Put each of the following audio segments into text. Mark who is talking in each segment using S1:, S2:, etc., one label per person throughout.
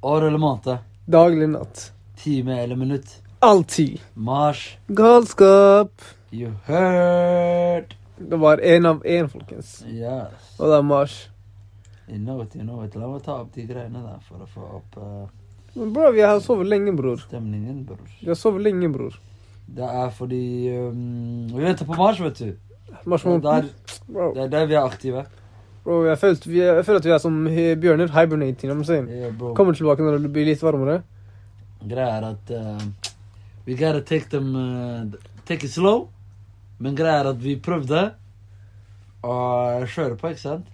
S1: År eller måned.
S2: Dag eller natt.
S1: Time eller minutt.
S2: Alltid.
S1: Mars.
S2: Galskap.
S1: You heard.
S2: Det var én av én, folkens.
S1: Yes.
S2: Og det er Mars.
S1: You know it, you know it. La meg ta opp de greiene der for å få opp eh,
S2: Men bro, vi har sovet lenge, bror.
S1: stemningen, bror.
S2: Vi har sovet lenge, bror.
S1: Det er fordi um, Vi venter på Mars, vet du.
S2: Mars
S1: Det er der,
S2: måned. Bro,
S1: det er der vi er aktive.
S2: bro jeg, føler, vi er- jeg føler at vi er som he- bjørner. Hibernating. you know what I'm saying?
S1: Yeah, bro.
S2: Kommer tilbake når det blir litt varmere.
S1: Greia er at eh, We gotta take them eh, Take it slow. Men greia er at vi prøvde å kjøre på, ikke sant?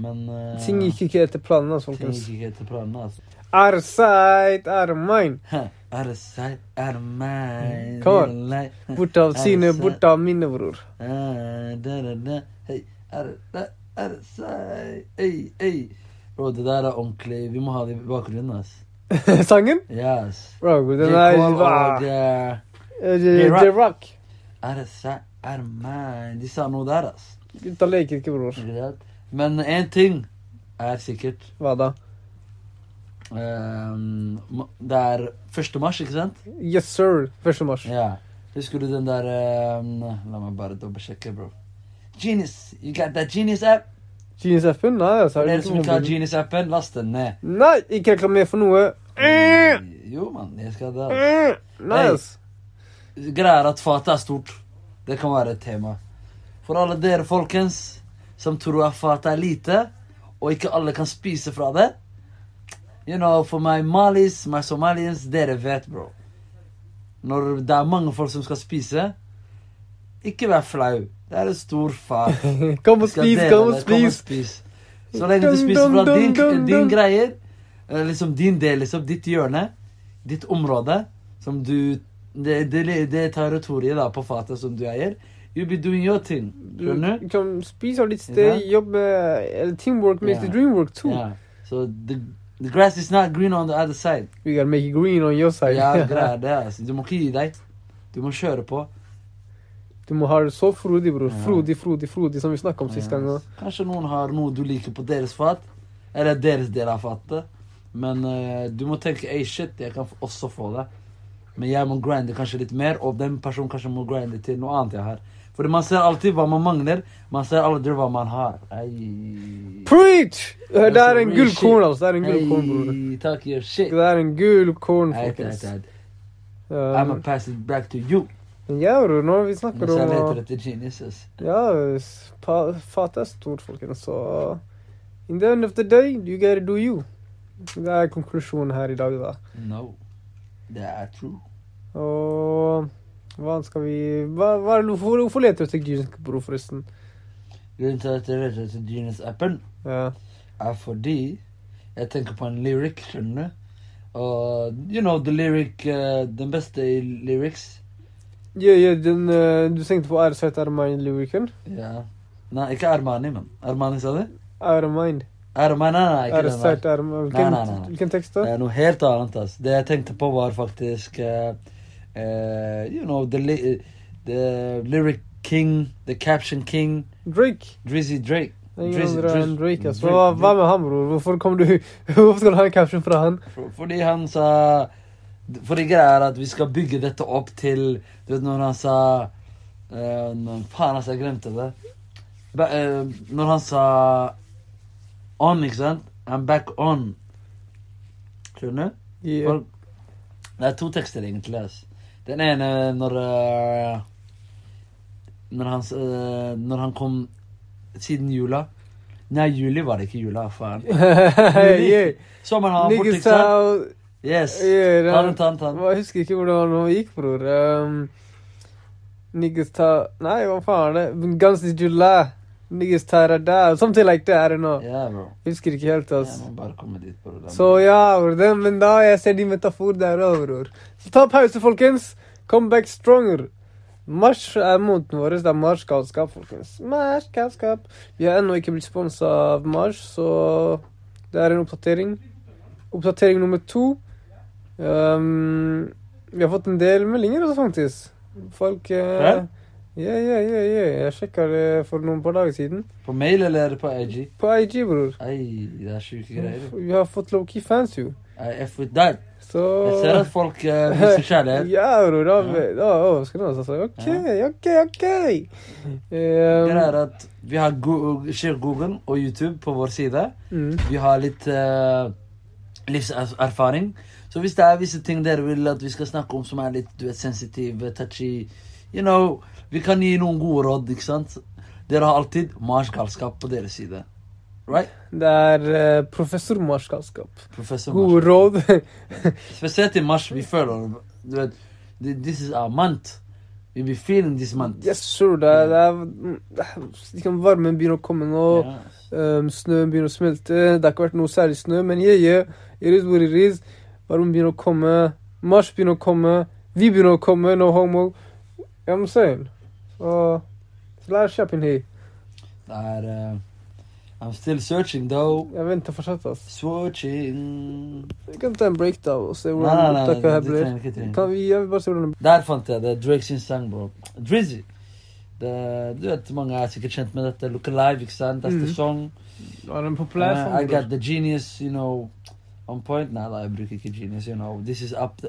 S1: Men eh,
S2: Ting gikk ikke etter planen, altså,
S1: ting
S2: folkens.
S1: gikk ikke etter planen, altså.
S2: Er sight, er mine.
S1: Out of sight, out of mind.
S2: Come on.
S1: Little light.
S2: Bort av sine,
S1: sight.
S2: bort av mine, bror.
S1: Ah, da, da, da. Hey, out of sight, out of sight. Hey, hey. Bro, det der er ordentlig Vi må ha det i bakgrunnen, ass.
S2: Sangen?
S1: Yes.
S2: Bro, den
S1: J.
S2: er
S1: Cole og
S2: Ah,
S1: eh,
S2: eh, J-
S1: Rock.
S2: J-Rock.
S1: Er det sæ... Er det meg? De sa noe der, ass.
S2: Gutta leker ikke, bror.
S1: Ikke sant? Men én ting er sikkert.
S2: Hva da?
S1: Ehm, ma- det er 1. mars, ikke sant?
S2: Yes, sir. 1. mars.
S1: Ja. Husker du den der ehm, La meg bare dobbeltsjekke, bro. Genius! You got that Genius app?
S2: Jeans appen? Nei, altså.
S1: For
S2: er det
S1: dere
S2: ikke
S1: som ikke har
S2: mobilen?
S1: Genius-appen, last den ned.
S2: Nei, ikke reklamer for noe. Eh,
S1: Jo, mann. Jeg skal da
S2: eh, Nei,
S1: Hey.
S2: ass.
S1: Greia er at fatet er stort. Det kan være et tema. For alle dere, folkens, som tror at fatet er lite, og ikke alle kan spise fra det You know, For my malis, my somalians, dere vet, bro. Når det er mange folk som skal spise, ikke vær flau. Det er et stor fat.
S2: Kom og
S1: Skal
S2: spis,
S1: dele
S2: kom og
S1: det,
S2: spis.
S1: spis. Så lenge du spiser fra din, din greier, eh, liksom din del, liksom, ditt hjørne, ditt område, som du Det, det, det territoriet da på fatet som du eier, you'll be doing your thing. Skjønner du?
S2: Du kan spise av ditt sted, jobb eh, eller Teamwork makes
S1: Ja.
S2: the dream work too.
S1: Ja. So the, the grass is not green on the other side.
S2: We gotta make it green on your side.
S1: Ja, greier det, altså. Du må ikke gi deg. Du må kjøre på.
S2: du må ha det så frodig, bror.
S1: Ja.
S2: Frodig, frodig, frodig, som vi snakket om sist gang.
S1: Ja.
S2: også.
S1: Kanskje noen har noe du liker på deres fat, eller deres del av fatet. Men eh, du må tenke ei shit, jeg kan f- også få det. Men jeg må grinde kanskje litt mer, og den personen kanskje må grinde til noe annet jeg har. Fordi man ser alltid hva man mangler, man ser aldri hva man har. Ei.
S2: Preach!
S1: Ja,
S2: Det
S1: så
S2: er en
S1: real
S2: gull
S1: shit.
S2: korn, altså. Det er en gull korn, bror.
S1: Ei, talk your shit.
S2: Det er en gull korn,
S1: Eit, eit,
S2: folkens.
S1: eit.
S2: Ja,
S1: I'ma pass it back to you.
S2: men ja, bror, når vi snakker
S1: Mens jeg
S2: om å-
S1: leter etter geniuses.
S2: Ja, s- pa- fatet er stort, folkens. Så in the end of the day, you gotta do you. Det er konklusjonen her i dag, da.
S1: No. Det er true.
S2: Og hva skal vi hva, hva, er det- Hvorfor hvorfor leter du etter Gyrensk bro, forresten?
S1: Grunnen til at jeg leter etter genius-appen,
S2: Ja.
S1: er fordi jeg tenker på en lyric, skjønner du? Og you know the lyric eh, Den beste i lyrics
S2: Ja, ja, den eh, Du tenkte på Air Sight Air Mind Lyriken?
S1: Ja Nei, ikke Armani, men Armani sa det?
S2: Air Mind.
S1: Armani, nei, nei, ikke
S2: Air
S1: den der.
S2: Sight Air Mind Hvilken-
S1: Nei, Eh, nei, nei, nei.
S2: Hvilken tekst
S1: Det
S2: da?
S1: er noe helt annet, ass. Det jeg tenkte på var faktisk eh, eh, You know, the, li the lyric king, the caption king,
S2: Drake.
S1: Drizzy Drake.
S2: Ingen
S1: Drizzy-
S2: andre enn
S1: Drizzy-
S2: Drake, altså.
S1: Drake,
S2: Hva, hva
S1: Drake.
S2: med han, bror? Hvorfor kom du Hvorfor skal du ha en caption fra han?
S1: For- Fordi han sa Fordi greia er at vi skal bygge dette opp til Du vet når han sa eh, når- Faen, altså, jeg glemte det. Ba, eh, når han sa On, ikke sant? I'm back on. Skjønner du?
S2: Yeah.
S1: Folk- Det er to tekster, egentlig. ass. Den ene når eh, når, han, s- eh, når han kom siden jula Nei, juli var det ikke jula, faen.
S2: yeah.
S1: Sommeren har han borte,
S2: Niggas
S1: ikke sant?
S2: out.
S1: Yes.
S2: Yeah, det-
S1: Ta den, ta den, ta den.
S2: Jeg husker ikke hvordan han gikk, bror. Um, niggas ta... Nei, hva faen er det? Guns is July. Niggas tar it down. Something like that, I don't know.
S1: Ja, bro.
S2: Jeg husker ikke helt,
S1: Jeg
S2: ass.
S1: må bare komme dit, bror. Det er
S2: Så ja, bror. Det, men da jeg ser de metafor der òg, bror. Så ta pause, folkens. Come back stronger. Mars er måneden vår. Det er Mars galskap, folkens. Mars galskap. Vi har ennå ikke blitt sponsa av Mars, så det er en oppdatering. Oppdatering nummer to. Ehm, vi har fått en del meldinger, altså, faktisk. Folk eh,
S1: Hæ?
S2: Ja, ja, ja. ja. Jeg sjekka det for noen par dager siden.
S1: På mail eller på IG?
S2: På IG, bror.
S1: Ei, det er sjuke greier.
S2: Vi har fått low-key fans, jo.
S1: Eh, F with that.
S2: Så
S1: Jeg ser at folk eh, viser kjærlighet.
S2: Ja, bror. Da ble- da var overraskende. Altså. OK, OK, OK.
S1: Det
S2: Um,
S1: er at Vi har Go- Sheikh Google og YouTube på vår side.
S2: mm.
S1: Vi har litt eh, livserfaring. Så hvis det er visse ting dere vil at vi skal snakke om som er litt du vet, sensitive, touchy You know, Vi kan gi noen gode råd, ikke sant? Dere har alltid Mars galskap på deres side. Right?
S2: Det er eh, professor Marskalskap.
S1: Professor Mars.
S2: Gode råd.
S1: Spesielt i mars. Vi føler du vet, th- This is our month. We be feeling this month.
S2: yes, sure. Det er, det er, det er liksom, Varmen begynner å komme nå.
S1: Yes.
S2: Um, snøen begynner å smelte. Det har ikke vært noe særlig snø, men yeah, yeah. It is what it is. Varmen begynner å komme. Mars begynner å komme. Vi begynner å komme. No homo. You know what I'm saying? So, it's a lot of shopping here.
S1: Det er eh, I'm still searching, though.
S2: Jeg venter fortsatt, ass.
S1: Swatching
S2: Vi kan ta en break, da, og se
S1: Nei, nei,
S2: hvordan
S1: nei,
S2: opptaket her
S1: du
S2: blir.
S1: trenger ikke, du trenger
S2: Kan vi, jeg vil bare se hvordan det
S1: Der fant jeg det. Drake sin sang, bro. Drizzy. Det, du vet, Mange er sikkert kjent med dette. Look Alive, ikke sant? That's the
S2: Mhm.
S1: song.
S2: Er den populær
S1: Uh, I got the genius, you know, on point. Nei da, jeg bruker ikke genius, you know. This is up the,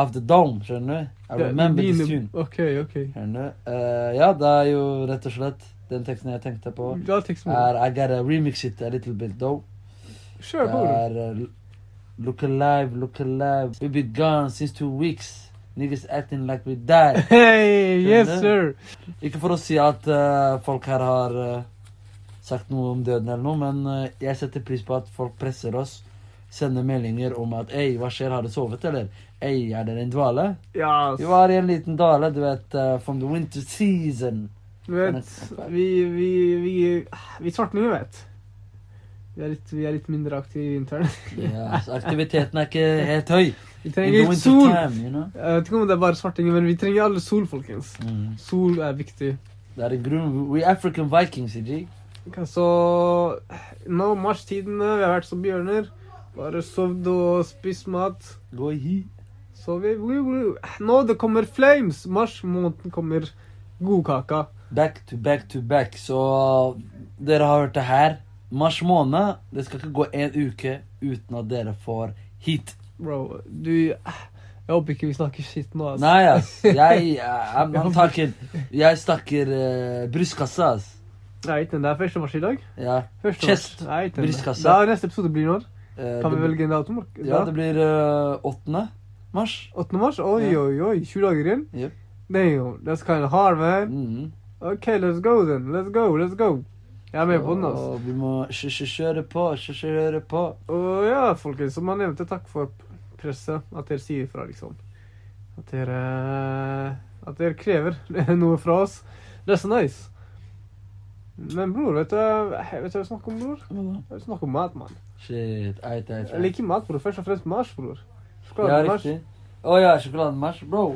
S1: up the dome, skjønner du?
S2: er-
S1: I remember this tune.
S2: OK, OK.
S1: Skjønner du? Eh, ja, det er jo rett og slett den teksten jeg tenkte på.
S2: Ja, teksten
S1: Er I gotta remix it a little bit, though.
S2: Kjør,
S1: Det
S2: bror.
S1: er eh, Look alive, look alive. We been gone since two weeks. Niggas acting like we died.
S2: Hey, yes,
S1: Skjønner.
S2: sir.
S1: Ikke for å si at eh, folk her har eh, sagt noe om døden eller noe, men eh, jeg setter pris på at folk presser oss. Sender meldinger om at Ei, hva skjer, har du sovet, eller? Ei, er dere i en dvale?
S2: Ja,
S1: Vi var i en liten dale, du vet. eh, from the winter season.
S2: Du vet, vi, vi, vi, vi svartninger vet. Vi er litt, vi er litt mindre aktive i vinteren.
S1: Ja, så aktiviteten er ikke helt høy.
S2: Vi
S1: In the
S2: trenger
S1: winter
S2: sol!
S1: time, you know?
S2: Jeg vet ikke om det er bare svartinger, men vi trenger alle sol, folkens.
S1: Mm.
S2: Sol er viktig.
S1: Det er en grunn. We African Vikings, CG.
S2: Ok, Så nå marstidene, vi har vært som bjørner. Bare sovd og spist mat.
S1: Gå i hi.
S2: Så vi woo, woo. Nå det kommer flames! Mars måneden kommer godkaka.
S1: Back to back to back. Så dere har hørt det her. Mars måned. Det skal ikke gå en uke uten at dere får hit.
S2: Bro, du Jeg håper ikke vi snakker shit nå, altså.
S1: Nei, ass. Jeg eh, I'm, I'm talking. Jeg snakker eh, brystkassa, ass.
S2: Jeg vet ikke, det er første mars i dag.
S1: Ja.
S2: Første
S1: Chest.
S2: mars. Jeg vet ikke.
S1: Brystkasse.
S2: Da neste episode blir når?
S1: eh,
S2: Kan
S1: det-
S2: vi velge en dato? Mark?
S1: Ja,
S2: Da?
S1: det blir eh, 8. mars.
S2: 8. mars? Oi,
S1: Ja.
S2: oi, oi. 20 dager igjen?
S1: Yep.
S2: Damn, that's kind of hard, man.
S1: Mm.
S2: Ok, let's go then. Let's go, let's go. Jeg er med på den, altså.
S1: Og vi må kjø- kjø- kjøre på, kjø- kjøre på.
S2: Og ja, folkens, som jeg nevnte, takk for presset. At dere sier ifra, liksom. At dere eh, At dere krever noe fra oss. That's nice. Men bror, vet du eh, Vet du hva vi snakker om, bror? Vi snakker om mat, mann.
S1: Shit. Eit, eit,
S2: Jeg
S1: eit.
S2: liker mat, bror. Først og fremst mars, bror.
S1: Ja,
S2: Sjokolademars.
S1: riktig. Å ja, sjokolademarsj. Bro,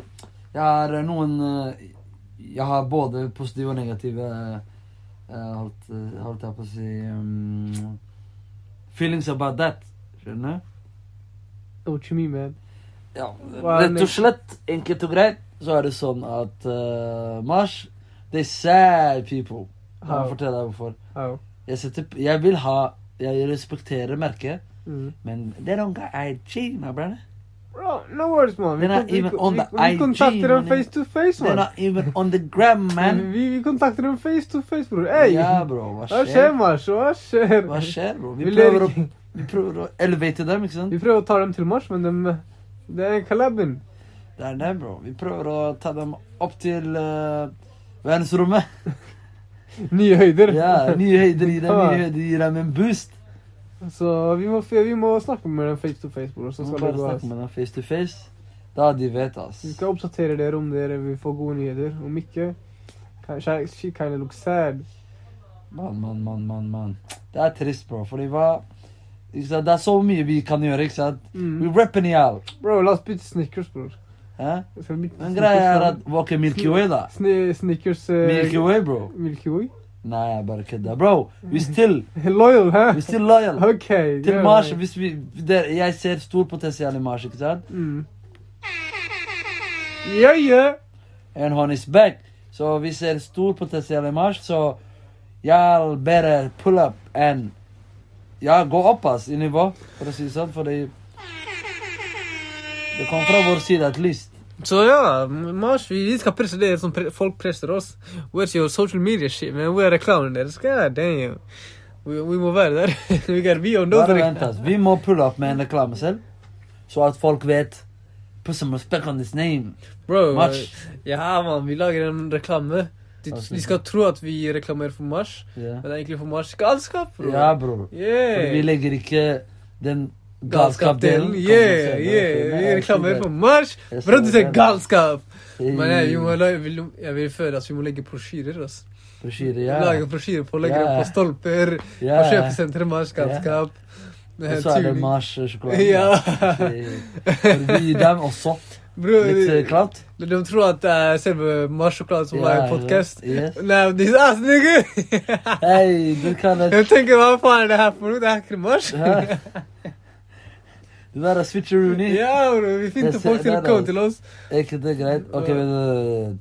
S1: jeg har eh, noen eh, Jeg har både positive og negative eh, holdt, eh, holdt jeg på å si um, Feelings about that. Skjønner du?
S2: What you mean, man?
S1: Ja.
S2: Hva er
S1: Rett og slett, enkelt og greit, så er det sånn at eh, Mars They sad people. La
S2: How?
S1: meg fortelle deg hvorfor.
S2: How?
S1: Jeg, setter, p- jeg vil ha Jeg respekterer merket,
S2: Mm.
S1: men they don't got IG, my brother.
S2: Bro, no worries, man.
S3: They're not
S2: kon-
S3: even
S2: kon-
S3: on
S2: vi,
S3: the
S2: vi
S3: IG,
S2: kontakter dem
S3: man.
S2: face to face,
S1: They're
S2: man.
S1: not even on the gram, man.
S2: Vi, vi kontakter dem face to face, bror. Ey!
S1: Ja, bro, hva
S2: hva
S1: skjer?
S2: skjer, Mars? Hva skjer?
S1: Hva skjer, bro? Vi
S2: Vi
S1: prøver,
S2: ler
S1: å,
S2: ikke.
S1: vi prøver å elevate dem, ikke sant?
S2: Vi prøver å ta dem til Mars, men dem, det er collaben.
S1: Det er det, bro. Vi prøver å ta dem opp til eh, verdensrommet.
S2: Nye høyder.
S1: Ja, nye høyder gir dem, nye
S2: Ja.
S1: høyder gir dem en boost.
S2: Så vi må, vi må snakke med dem face to face, bror. Så
S1: Så
S2: skal
S1: bare
S2: det gå. ass.
S1: snakke med dem face to face. Da de vet, ass.
S2: Vi skal oppdatere dere om dere vil få gode nyheter. Om ikke Kanskje I actually kinda look sad.
S1: Mann, mann, mann, mann, mann. Det er trist, bro. Fordi hva ikke sant? Det er så mye vi kan gjøre, ikke sant? We
S2: Mm.
S1: repping it out.
S2: Bro, la oss bytte Snickers, bror.
S1: Hæ?
S2: Skal vi bytte
S1: Men greia
S2: Snickers,
S1: er
S2: da?
S1: at Var ikke Milky Way, da?
S2: Sni- Snickers eh,
S1: Milky Way, bro.
S2: Milky Way?
S1: Nei, jeg bare kødder. Bro, we still,
S2: Loyal, hæ?
S1: we still loyal.
S2: Ok.
S1: Til
S2: ja.
S1: Mars, hvis vi, der, jeg ser stor potensial i Mars, ikke sant?
S2: Mm. Ja, ja.
S1: And on his back. Så vi ser stor potensial i Mars, så jeg better pull up and Ja, gå opp ass, i nivå, for å si det sånn, fordi Det kom fra vår side, at least.
S2: Så ja, Mars, vi, vi skal presse det som pre folk presser oss. Where's your social media shit, man? Hvor er reklamen deres? God damn. We, we må være der. we gotta be on those
S1: Bare
S2: rec-
S1: vent, ass. Vi må pulle opp med en reklame selv, så at folk vet Put some respect on this name.
S2: Bro,
S1: Mars.
S2: ja mann, vi lager en reklame. De, de skal tro at vi reklamerer for Mars,
S1: Ja,
S2: men det er egentlig for Mars galskap, bro.
S1: ja bror.
S2: Yeah.
S1: For vi legger ikke den
S2: Galskapdelen.
S1: galskapdelen.
S2: Yeah, yeah. Vi reklamerer for Mars. Bro, du sier galskap. Men jeg, vi må, la- jeg, vil, jeg vil føle at vi må legge brosjyrer. Altså.
S1: Brosjyre,
S2: Lage
S1: ja.
S2: brosjyrer på, legge
S1: Ja.
S2: dem på stolper.
S1: ja.
S2: På kjøpesenteret Mars galskap.
S1: Og så er det Mars-sjokolade.
S2: Ja.
S1: For vi gir dem også
S2: Bro,
S1: litt eh, clout.
S2: de, de tror at det er selve Mars-sjokoladen som
S1: Ja,
S2: er podkast.
S1: ja, yes.
S2: Nei, men disse ass nigger!
S1: Hei, du kan det.
S2: Jeg tenker, hva faen er det her for noe? Det er ikke Mars.
S1: Hæ? Det der er switcheroony.
S2: Ja, bro, vi
S1: Det
S2: finner
S1: ser-
S2: folk til
S1: der
S2: å
S1: er
S2: komme
S1: det.
S2: til oss.
S1: Er ikke det greit? Ok, men øh,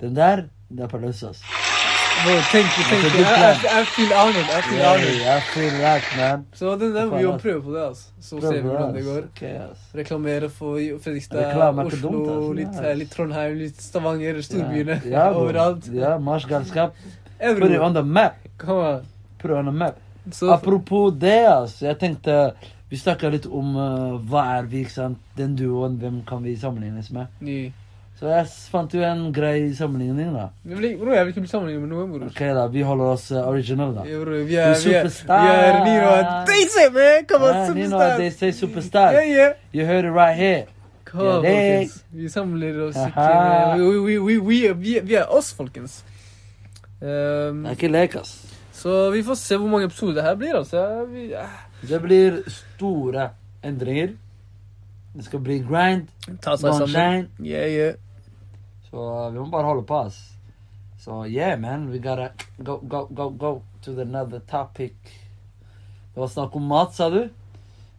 S1: den der, det er på løs, ass.
S2: Bro, tenk, tenk.
S1: Det er
S2: Jeg,
S1: good
S2: jeg, jeg feel honored. Jeg feel
S1: Yeah,
S2: honored.
S1: jeg feel that, man.
S2: Så den der, vi må prøve på det, altså. Så ser
S1: Prøv,
S2: vi hvordan
S1: ass.
S2: det går.
S1: Ok, ass.
S2: Reklamere for Fredrikstad,
S1: Reklame er ikke
S2: Oslo,
S1: dumt, altså.
S2: litt,
S1: Nice.
S2: eh, litt Trondheim, litt Stavanger, storbyene.
S1: Ja, ja, bro.
S2: overalt.
S1: Ja, marsgalskap. Put it
S2: Everywhere.
S1: on the map.
S2: Come on.
S1: Put it on the map.
S2: Så,
S1: Apropos det, ass. Jeg tenkte Vi snakka litt om øh, hva er vi, ikke sant? Den duoen, hvem kan vi sammenlignes med?
S2: ny.
S1: Så jeg s- fant jo en grei sammenligning, da.
S2: Men det- Bro, jeg vil ikke bli sammenlignet med noen, bror.
S1: Ok, da. Vi holder oss øh, original, da.
S2: Ja, Bro, vi
S1: Du
S2: er, vi er,
S1: superstar.
S2: vi er Nino og Daisy, man! Come on,
S1: Ah, Nino,
S2: superstar!
S1: they say superstar.
S2: Yeah, yeah.
S1: You heard it right here.
S2: Come on,
S1: Ja, det-
S2: folkens. Vi samler oss ikke
S1: Aha.
S2: med- vi, vi, vi, vi, er- vi, er- vi er oss, folkens. Ehm,
S1: Det er ikke lek, ass.
S2: så vi får se hvor mange episoder det her blir, altså. Vi, eh,
S1: Det blir store endringer. Det skal bli grind,
S2: ta seg sammen.
S1: moonshine.
S2: Yeah, yeah.
S1: Så vi må bare holde på, ass. Så yeah, man. We gotta go, go, go, go to the another topic. Det var snakk om mat, sa du?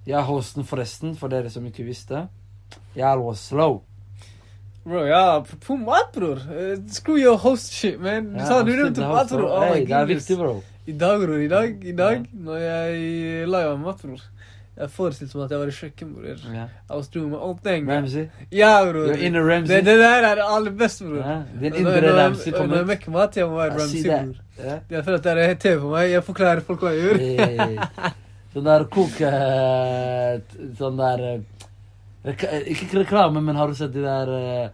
S1: Jeg er hosten, forresten, for dere som ikke visste. Jeg er Alwa Slow.
S2: Bro, ja, apropos mat, bror. Eh, screw your host shit, man. Du
S1: Jeg er
S2: sa du
S1: hosten,
S2: nevnte
S1: det er
S2: mat,
S1: hosten.
S2: bror. Oh,
S1: Hey,
S2: my
S1: det er
S2: goodness.
S1: viktig, bro.
S2: I dag, bror. I dag, i dag
S1: Ja.
S2: når jeg laga mat, bror Jeg forestilte meg at jeg var i kjøkken, bror.
S1: Ja.
S2: I was doing my own thing.
S1: Ramsey.
S2: Ja, bror.
S1: You're inner Ramsey.
S2: Det, det der er det aller beste, bror.
S1: Ja, Din
S2: Når- når
S1: indre
S2: jeg-
S1: Ramsey
S2: Når
S1: kommer
S2: jeg
S1: ut.
S2: mekker mat, jeg må være
S1: Ja, si
S2: Ramsey,
S1: det.
S2: bror.
S1: Ja.
S2: Jeg føler at det er TV på meg. Jeg forklarer folk hva jeg gjør.
S1: Hey. Sånn der koke... Sånn der eh, rek Ikke ikke reklame, men har du sett de der eh,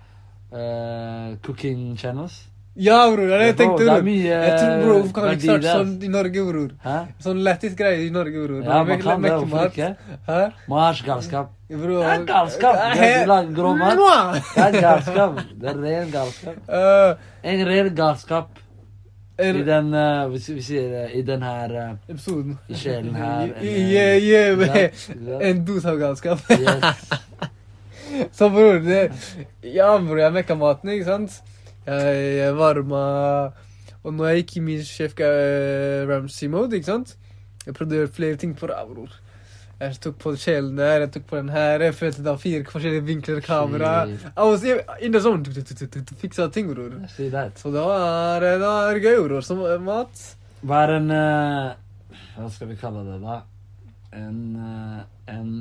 S1: eh, cooking channels?
S2: Ja, bror. Det er det jeg
S1: Bro,
S2: tenkte,
S1: det er
S2: bror.
S1: mye
S2: Jeg tror, bro, Hvorfor kan man ikke
S1: verdi
S2: starte
S1: der.
S2: sånn i Norge, bror?
S1: Hæ?
S2: Sånn lættis greie i Norge, bror.
S1: Ja,
S2: Når
S1: man
S2: vi
S1: kan det.
S2: mekker
S1: Hvorfor
S2: mat.
S1: ikke?
S2: Hæ?
S1: Mars galskap.
S2: Bro.
S1: Det er galskap. Det er du lager grov mat.
S2: Mwah!
S1: Det er galskap. Det er ren galskap.
S2: Eh,
S1: En ren galskap i
S2: er-
S1: den eh, vi, s- vi sier det, i den her eh,
S2: Episoden.
S1: I sjelen her. en, eh,
S2: Yeah, yeah,
S1: ikke
S2: man.
S1: sant? Ikke sant?
S2: En dos av galskap.
S1: Yes.
S2: Så bror, det Ja, bror, jeg mekka maten, ikke sant? Jeg, jeg varma Og når jeg gikk i min chef eh, Ramsay-mode, ikke sant? Jeg prøvde å gjøre flere ting på rad, bror. Jeg tok på kjelen der, jeg tok på den her, jeg følte det var fire forskjellige vinkler kamera.
S1: Shit.
S2: I was in the zone. tuk, tuk, tuk, tuk, tuk, Fiksa ting, bror.
S1: Si det.
S2: Så det var, det var gøy, bror. Som eh, mat.
S1: Hva er en eh, Hva skal vi kalle det, da? En, eh, en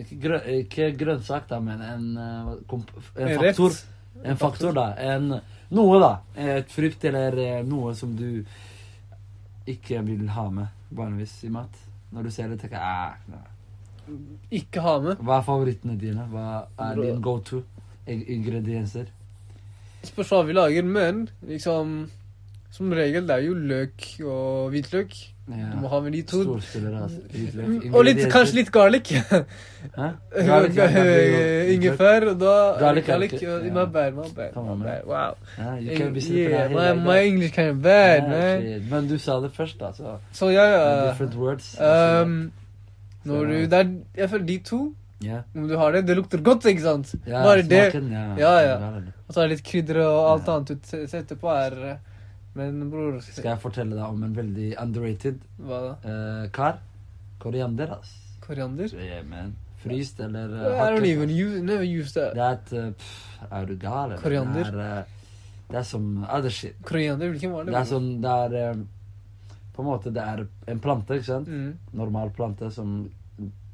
S1: ikke, grø ikke grønnsak, da, men en, eh, hva- komp en
S2: rett.
S1: faktor. En faktor, da. En, noe, da. Et frukt eller eh, noe som du ikke vil ha med vanligvis i mat. Når du ser det, tenker jeg "Ah, nei."
S2: Ikke ha med.
S1: Hva er favorittene dine? Hva er
S2: Bra.
S1: din go to ingredienser?
S2: Spørs hva vi lager, men liksom Som regel, det er jo løk og hvitløk. Du må
S1: Ja.
S2: ha med de to.
S1: Storspillere, altså. Hvitløk.
S2: Mm, Og litt, kanskje litt garlic.
S1: Hæ? Garlic, ja, garlic, ja.
S2: Ingefær, og da
S1: Garlic,
S2: Garlic.
S1: okay.
S2: uh,
S1: Yeah.
S2: My bad, my bad.
S1: Come on,
S2: My
S1: man.
S2: bad. Wow.
S1: Ja, you can be slipping
S2: Eh, Yeah,
S1: out here
S2: my,
S1: like
S2: my
S1: that.
S2: English kind of bad,
S1: Ah,
S2: man.
S1: shit. Men du sa det først, da. Så
S2: Så ja, ja.
S1: different words. Altså,
S2: Um, når
S1: Så-
S2: du Det er Jeg føler de to,
S1: ja.
S2: om du har det, det lukter godt, ikke sant?
S1: Ja,
S2: Bare det.
S1: smaken, ja.
S2: Ja, ja.
S1: det er det.
S2: Og så er det litt krydder og alt
S1: Ja.
S2: annet du t- setter på, er eh, Men bror
S1: Skal jeg fortelle deg om en veldig underrated
S2: Hva da?
S1: eh, kar? Koriander, ass.
S2: Koriander?
S1: Yeah, man. Fryst eller eh,
S2: I
S1: hakket,
S2: don't even
S1: ass.
S2: use, never use that.
S1: Det er et eh, pff, Er du gal, eller?
S2: Koriander?
S1: Det er, eh, det er som other shit.
S2: Koriander, hvilken var det?
S1: Det er
S2: bror?
S1: sånn Det er eh, På en måte, det er en plante, ikke sant?
S2: Mm.
S1: Normal plante som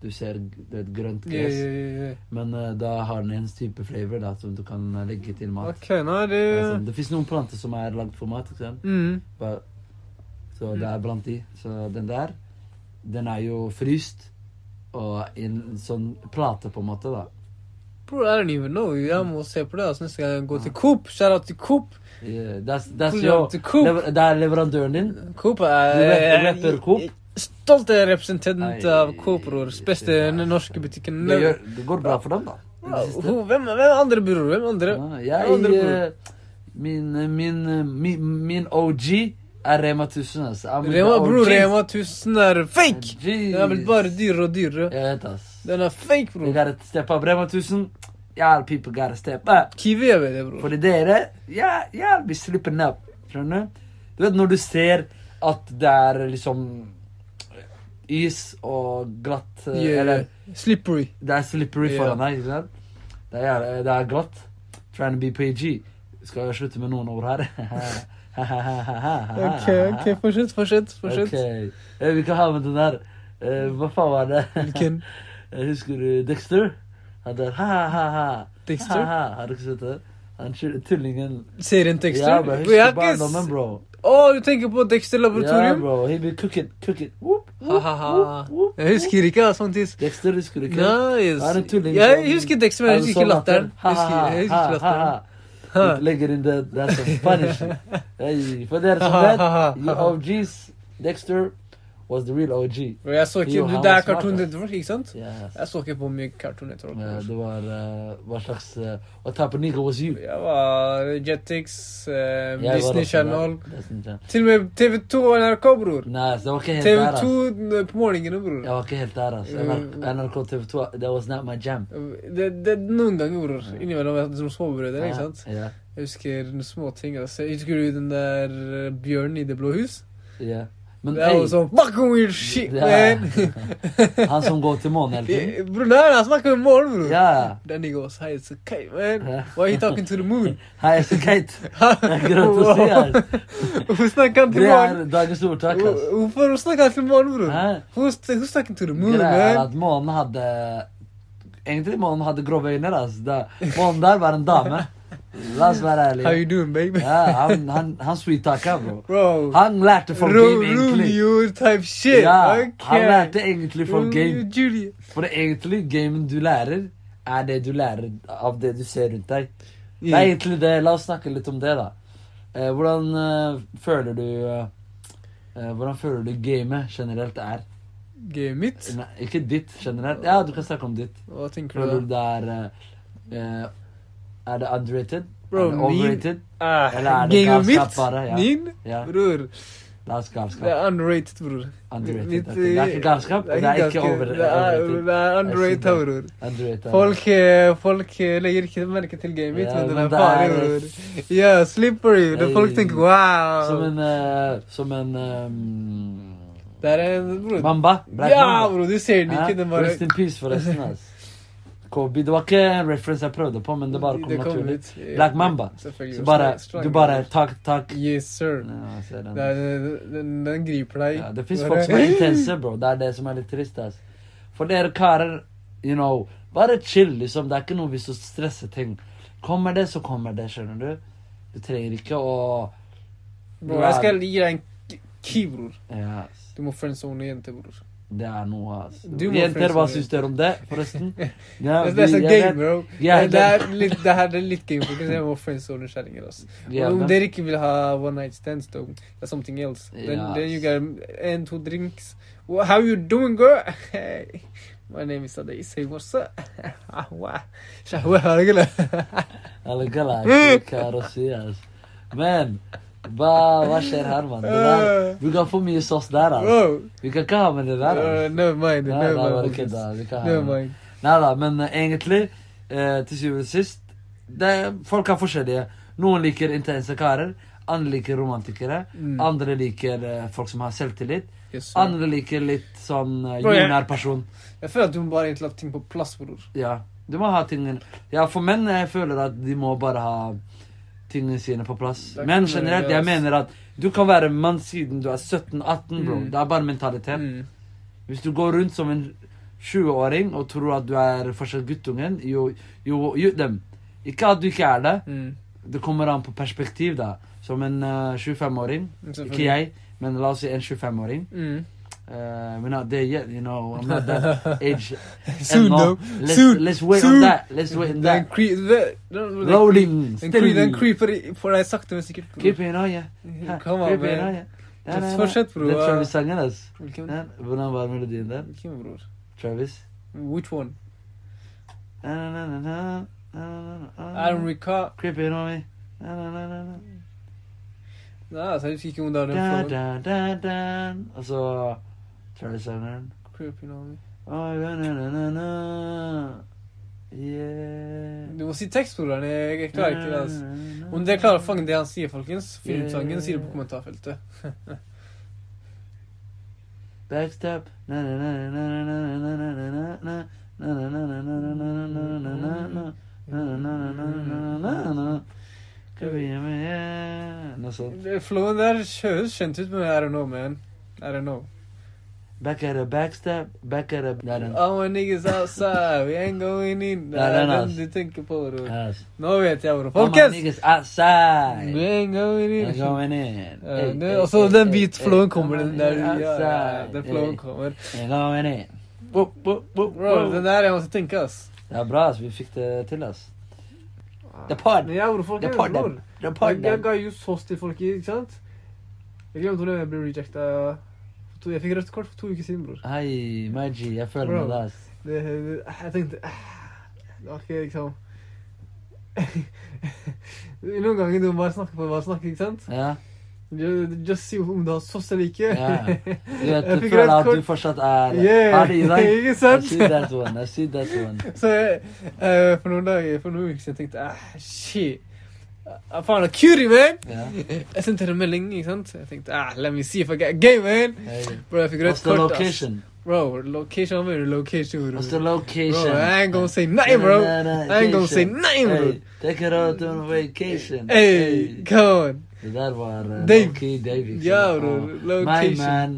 S1: Du ser g- det er et grønt
S2: Ja,
S1: gress.
S2: ja, ja, ja.
S1: Men eh, da har den en type flavor da, som du kan eh, legge til mat.
S2: Ok, nå er det
S1: Det er sånn- Det fins noen planter som er lagd for mat. ikke sant?
S2: mm.
S1: Bare- Så det er blant de. Så den der, den er jo fryst. Og i en sånn plate, på en måte, da.
S2: Bror, I don't even know. Jeg må se på det. Altså, neste gang jeg går til Coop. Shout out til Coop.
S1: Yeah, that's, that's
S2: Pull
S1: your,
S2: up to Coop.
S1: lever, det er leverandøren din.
S2: Coop
S1: Du
S2: er
S1: rep- rapper Coop?
S2: Stolt representant
S1: Nei,
S2: av Coop, bror. Beste
S1: det er-
S2: norske butikken.
S1: Det, gjør, det går bra for dem, da. i
S2: Bro,
S1: det siste.
S2: who- Hvem, hvem andre, bror? Hvem andre?
S1: Ja,
S2: Hvem andre,
S1: jeg
S2: bror?
S1: eh, min, eh, min, eh, min, min OG er Rema altså. 1000, ass. I'm with
S2: Rema,
S1: the
S2: bror.
S1: OGs.
S2: Rema 1000 er fake!
S1: Jeez.
S2: Den er vel bare dyrere og dyrere.
S1: Jeg vet, ass.
S2: Den er fake,
S1: We
S2: bror.
S1: gotta step up. Rema 1000, y'all people gotta step up.
S2: Kiwi er bedre, bror.
S1: Fordi dere, ja, y'all be slipping up. Skjønner du? Du vet når du ser at det er liksom is og glatt eh, Eller
S2: Yeah. Slippery.
S1: Det er slippery
S2: Ja.
S1: foran deg, ikke sant? Det er, det er glatt. Trying to be PG. Skal jeg slutte med noen ord her? ok,
S2: Ok, ok, fortsett, fortsett. fortsett.
S1: Eh, Vi kan ha med den der. Eh, hva faen var det?
S2: Hvilken?
S1: Jeg husker du Dexter? Han der ha-ha-ha.
S2: Dexter?
S1: Har du ikke sett det? Han tull- tullingen.
S2: Serien Dexter?
S1: Ja, bro,
S2: Bro, jeg har
S1: husker
S2: ikke s-
S1: barndommen, bro.
S2: Å, du tenker på Dexter
S1: Ja,
S2: Laboratorium?
S1: bro. He be cooking, cooking. Whoop, whoop,
S2: Ha-ha-ha.
S1: whoop, whoop,
S2: Jeg husker ikke ja, sånn tids.
S1: Dexter, husker du ikke?
S2: Nice.
S1: Han er en tulling
S2: Jeg
S1: som- sånn
S2: husker Dexter, men jeg husker ikke latteren. Jeg husker- Jeg husker ikke latteren. Ha.
S1: latteren. Legger inn det der som Spanish. Hey, for dere som vet, you OGs, Dexter was the real OG.
S2: Bro, jeg så ikke
S1: Jo,
S2: du,
S1: han
S2: Det
S1: var
S2: er Cartoon
S1: smart, ass.
S2: Network, ikke sant?
S1: Yes.
S2: Jeg så ikke på mye Cartoon Network.
S1: Eh,
S2: bror.
S1: Det var eh, hva slags eh, What type of nigga was you?
S2: Jeg var Jetix, eh,
S1: Jeg var
S2: Disney
S1: også der.
S2: Channel
S1: Disney Channel.
S2: Til og med TV2 og NRK, bror.
S1: Nei, så jeg var ikke helt der, altså. ass.
S2: TV2 på morgenene, bror.
S1: Jeg var ikke helt der, altså. ass. NRK, NRK TV2, that was not my jam.
S2: Mm. Det, det er noen ganger, bror. Innimellom er det som småbrødre, ikke sant?
S1: Ja,
S2: Jeg husker noen små ting, altså. Jeg husker du den der eh, bjørnen i Det blå hus?
S1: ja. Men
S2: Det er
S1: ey,
S2: jo sånn fucking weird shit,
S1: Ja.
S2: man!
S1: han som går til månen hele tiden.
S2: Bror, nei, han snakker om morgen, bror.
S1: Ja.
S2: That nigga was high as a kite, man.
S1: Ja.
S2: Why are you talking to the moon?
S1: Hei, jeg er så geit. Det er greit å si, ass.
S2: Wow. Hvorfor snakker han til
S1: Det er
S2: morgen?
S1: dagens altså. ordtak. ass.
S2: Hvor- Hvorfor snakker han til morgen, bror?
S1: Hæ?
S2: Who's, who's talking to the moon,
S1: Greia er
S2: man?
S1: at månen hadde Egentlig månen hadde grove øyne. Altså. Da, månen der var en dame. La oss være
S2: How
S1: ærlige.
S2: you doing, baby?
S1: Ja, han han, han sweet-taka, bro.
S2: Bro.
S1: Han lærte folk
S2: Ro-
S1: game, egentlig.
S2: Romeo type shit.
S1: Ja,
S2: okay.
S1: han lærte egentlig folk
S2: Romeo
S1: game.
S2: and Juliet.
S1: For egentlig, gamen du lærer, er det du lærer av det du ser rundt deg. Det
S2: Yeah.
S1: er egentlig det. La oss snakke litt om det, da. Eh, hvordan eh, føler du eh, eh, Hvordan føler du gamet generelt er?
S2: Gamet mitt?
S1: Nei, ikke ditt generelt. Ja, du kan snakke om ditt.
S2: Hva tenker
S1: Føler
S2: du
S1: du
S2: da?
S1: det er eh, eh, Er det underrated?
S2: Bro,
S1: er det
S2: min-
S1: overrated?
S2: Ah,
S1: Eller er det
S2: gamet mitt?
S1: galskap bare, ja.
S2: Min?
S1: Ja,
S2: Bror,
S1: det er galskap.
S2: det er underrated, bror.
S1: underrated.
S2: mitt,
S1: ok. Det er ikke galskap, og det er ikke
S2: ganske-
S1: over,
S2: det er-
S1: overrated.
S2: Det er underrated,
S1: Jeg sier det.
S2: bror.
S1: Underrated.
S2: Folk, eh, folk eh, legger ikke merke til gamet mitt,
S1: Ja,
S2: men den
S1: men
S2: er
S1: det
S2: farlig,
S1: er-
S2: bror. Ja, slippery. Det folk
S1: Hey.
S2: tenker wow.
S1: Som en eh, Som en ehm,
S2: Det er en bror.
S1: Mamba. Black
S2: Ja,
S1: Mamba.
S2: bror, du ser den
S1: Ja,
S2: ikke. Den bare
S1: Rest in peace, forresten. ass. Kobe. Det var ikke en reference jeg prøvde på, men det bare kom
S2: Det
S1: naturlig.
S2: ut. Ja,
S1: Black Mamba.
S2: Selvfølgelig.
S1: Så bare,
S2: Strong-
S1: du bare Takk, takk.
S2: Yes, sir.
S1: Ja, jeg ser den.
S2: Det er, den, den, den griper deg.
S1: Ja, det fins
S2: Bare-
S1: folk som er intense, bro. Det er det som er litt trist. ass. For dere karer, you know, bare chill, liksom. Det er ikke noe hvis du stresser ting. Kommer det, så kommer det, skjønner du. Du trenger ikke å
S2: Bro, jeg skal gi deg en k- key, bror.
S1: Ja, ass.
S2: Du må friendzone jenter, bror.
S1: det er noe, ass.
S2: Du må
S1: Jenter, hva
S2: friendzone.
S1: syns dere om det, forresten? Ja,
S2: Det, det er
S1: vi-
S2: så
S1: jeg vet-
S2: game, bro.
S1: jeg
S2: det, det,
S1: vet-
S2: er litt, det her er litt game, for jeg må friendzone kjerringer, ass.
S1: jeg
S2: Og Om
S1: vet-
S2: dere ikke vil ha one night stands, though, that's something else. Then,
S1: Ja,
S2: then you
S1: ass.
S2: get en, to drinks. Wha- how you doing, girl? Hey, my name is Adai. Say what's up? Shahwa. Shahwa, رجل.
S1: Eller galakse, kar å si, ass. Men hva, hva skjer her, mann? Det der- Du kan få mye sås der, ass.
S2: Bro,
S1: Vi kan ikke ha med det der, ass.
S2: Uh, never mind,
S1: Nei,
S2: never
S1: nei,
S2: mind.
S1: bare
S2: Marcus.
S1: kødda. Vi kan ha
S2: Never
S1: med-
S2: mind.
S1: Nei da, men eh, egentlig, eh, til syvende og sist det, Folk er forskjellige. Noen liker intense karer. Andre liker romantikere.
S2: Mm.
S1: Andre liker eh, folk som har selvtillit.
S2: Yes, sir.
S1: Andre liker litt sånn eh,
S2: Bro, jeg-
S1: jordnær person.
S2: Jeg føler at du må bare egentlig la ting på plass, bror.
S1: Ja, du må ha tingene Ja, for menn jeg føler at de må bare ha tingene sine på plass.
S2: Det er
S1: Men
S2: ikke noe
S1: generelt,
S2: religiøst.
S1: jeg mener at du kan være mann siden du er 17-18, bro.
S2: Mm.
S1: Det er bare mentalitet.
S2: Mm.
S1: Hvis du går rundt som en 20-åring og tror at du er fortsatt guttungen, you, you, you them. Ikke at du ikke er det.
S2: Mm.
S1: Det kommer an på perspektiv, da. Som en eh, 25-åring. Ikke jeg, men la oss si en 25-åring.
S2: Mm.
S1: Uh, we're not there yet, you know. I'm not that age.
S2: Soon,
S1: and all.
S2: though.
S1: Let's,
S2: Soon.
S1: let's wait
S2: Soon.
S1: on that. Let's wait on
S2: Den,
S1: that.
S2: cre the, den, den,
S1: Rolling.
S2: den, cre den
S1: Still.
S2: creeper i- for deg sakte, men sikkert. bror.
S1: Keep it on, yeah. Ha,
S2: Come on,
S1: keep it on,
S2: man.
S1: yeah. Na, na, na.
S2: Fortsett, bro.
S1: Det er Travis-sangen, ass.
S2: Hvilken,
S1: Na, Hvordan var melodien der?
S2: hvilken bror?
S1: Travis?
S2: Which one?
S1: Na, na, na, na, na, na, na, na, na.
S2: I don't recall.
S1: Keep it on me. Na, na, na, na, na.
S2: Nei, altså, jeg husker ikke hvordan den
S1: Da,
S2: flowen.
S1: da, da, da. Og så Travis-sangeren.
S2: Creep, you know me.
S1: Oh, na, na, na, na, na. Yeah.
S2: Du må si tekst, bror. Jeg, jeg klarer ikke det. altså.
S1: altså.
S2: Om dere klarer å fange det han sier, folkens, finn ut sangen, si det på kommentarfeltet.
S1: Backstep. Na, na, na, na, na, na, na, na, na, na, na, na, na, na, na, na, na, na, na, na, na. Na, na, na, na, na, na, na, na, na. Could be a man. Noe sånt.
S2: Det Flowen der høres kjent ut, men I don't know, man. I don't know.
S1: Back at a backstep, back at a... Det er den.
S2: Our niggas outside, we ain't going in.
S1: Nei,
S2: Det er
S1: den,
S2: den
S1: ass.
S2: du tenker på, bror.
S1: Yes.
S2: Nå vet jeg, bror.
S1: All my
S2: Folkens!
S1: niggas outside.
S2: We ain't going
S1: They're
S2: in.
S1: going in.
S2: Eh,
S1: Hey,
S2: det-
S1: hey,
S2: Og så
S1: hey,
S2: den
S1: hey,
S2: beat
S1: hey,
S2: flowen
S1: come
S2: kommer,
S1: on
S2: den
S1: in
S2: der. Ja, ja,
S1: outside.
S2: den
S1: Hey,
S2: flowen kommer.
S1: They're going in. Whoop, whoop, whoop,
S2: Bro,
S1: whoop.
S2: den der jeg måtte tenke, ass.
S1: Det er bra, ass. Vi fikk det til, ass. Det er pod.
S2: Men ja, bror,
S1: Det er
S2: folkens,
S1: pod.
S2: bror.
S1: Det er
S2: Jeg,
S1: pod.
S2: jeg ga jo sås til folk, ikke sant? Jeg glemte hvordan jeg ble rejecta. for to- Jeg fikk rødt kort for to uker siden, bror.
S1: Hei, Maji. Jeg føler
S2: Bro.
S1: med deg, ass.
S2: Det, det, jeg tenkte ah, Det var ikke liksom Noen ganger du må bare snakke for å bare snakke, ikke sant?
S1: Ja.
S2: Just, just si om du har sås eller ikke.
S1: Ja. Du vet,
S2: Jeg
S1: du
S2: fikk
S1: føler
S2: rødt
S1: at du
S2: kort.
S1: fortsatt er
S2: Yeah,
S1: har det i deg.
S2: ikke
S1: I
S2: sant?
S1: see that one. I see that one.
S2: Så jeg, eh, for noen dager, for noen uker siden tenkte jeg ah, shit. Ah, faen, det er cutie, man!
S1: Ja.
S2: Jeg sendte henne en melding, ikke sant? Jeg tenkte ah, let me see if I get gay, man!
S1: Hey.
S2: Bro, jeg fikk
S1: What's
S2: rødt
S1: the
S2: kort. ass.
S1: location?
S2: Bro, location, I'm very location.
S1: What's the
S2: Bro,
S1: location?
S2: bro I ain't gonna say nothing, bro.
S1: Na, na, na,
S2: I ain't gonna say
S1: location.
S2: nothing, bro.
S1: Hey, take it out on vacation.
S2: Hey, come on.
S1: Det der var uh,
S2: Dave.
S1: Low-key Davidson. Oh,
S2: Ja, bro.
S1: My
S2: Location.
S1: man.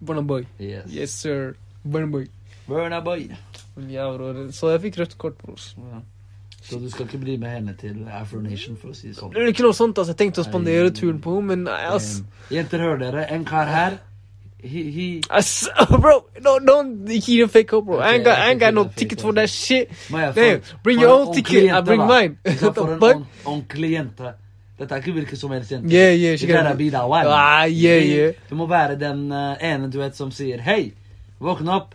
S2: Burna boy.
S1: Yes.
S2: Yes, sir. Burna boy.
S1: Burna boy.
S2: Ja, bror. Så jeg fikk rødt kort, bror.
S1: Så du skal ikke bli med henne til Afronation, for å si det sånn.
S2: Det er ikke noe sånt, altså. Jeg tenkte å
S1: Nei.
S2: spandere turen på henne, men nei, ass.
S1: Um, Jenter, hører dere? En kar her. He, he,
S2: Ass, bro, no, don't, ikke gi en fake hope, bro. I ain't got, I ain't got no
S1: Okay, okay,
S2: ticket
S1: okay.
S2: for that shit.
S1: Maja,
S2: Damn, bring your
S1: for en
S2: own
S1: ordentlig
S2: ticket, I
S1: jente,
S2: bring
S1: da.
S2: mine.
S1: Ikke sant,
S2: What
S1: for
S2: the
S1: en
S2: fuck?
S1: ord- ordentlig jente. Dette er ikke hvilken som helst jente.
S2: Yeah, yeah, she
S1: You gotta
S2: got
S1: be the one.
S2: Ah, yeah, yeah.
S1: Du må være den eh, ene du vet som sier hei, våkne opp.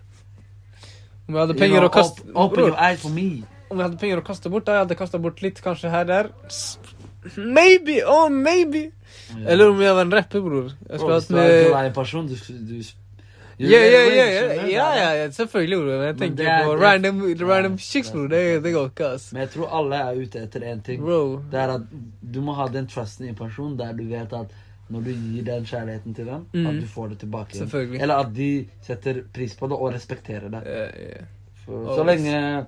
S2: Om jeg hadde
S1: You
S2: penger
S1: know,
S2: å kaste,
S1: op- Open
S2: bror.
S1: your eyes for me.
S2: Om jeg hadde penger å kaste bort, da jeg hadde kastet bort litt, kanskje her der. S- Maybe, oh maybe. Eller om jeg var en rapper, bror. Jeg
S1: Mm. Bro,
S2: skulle
S1: Hvis
S2: hatt
S1: du er
S2: med
S1: glad i en person, du, du
S2: Ja, ja,
S1: Skjønner du?
S2: ja, ja, ja, ja, selvfølgelig, bror. Men Jeg
S1: Men
S2: tenker
S1: det er-
S2: på
S1: det er-
S2: random, random
S1: Ja,
S2: chicks,
S1: det er-
S2: bror. Det, det går ikke, ass.
S1: Men jeg tror alle er ute etter én ting.
S2: Bro.
S1: Det er at du må ha den trusten i en person der du vet at når du gir den kjærligheten til dem,
S2: Mhm.
S1: at du får det tilbake. igjen.
S2: Selvfølgelig.
S1: Eller at de setter pris på det og respekterer det.
S2: Ja, ja.
S1: For,
S2: Og-
S1: så lenge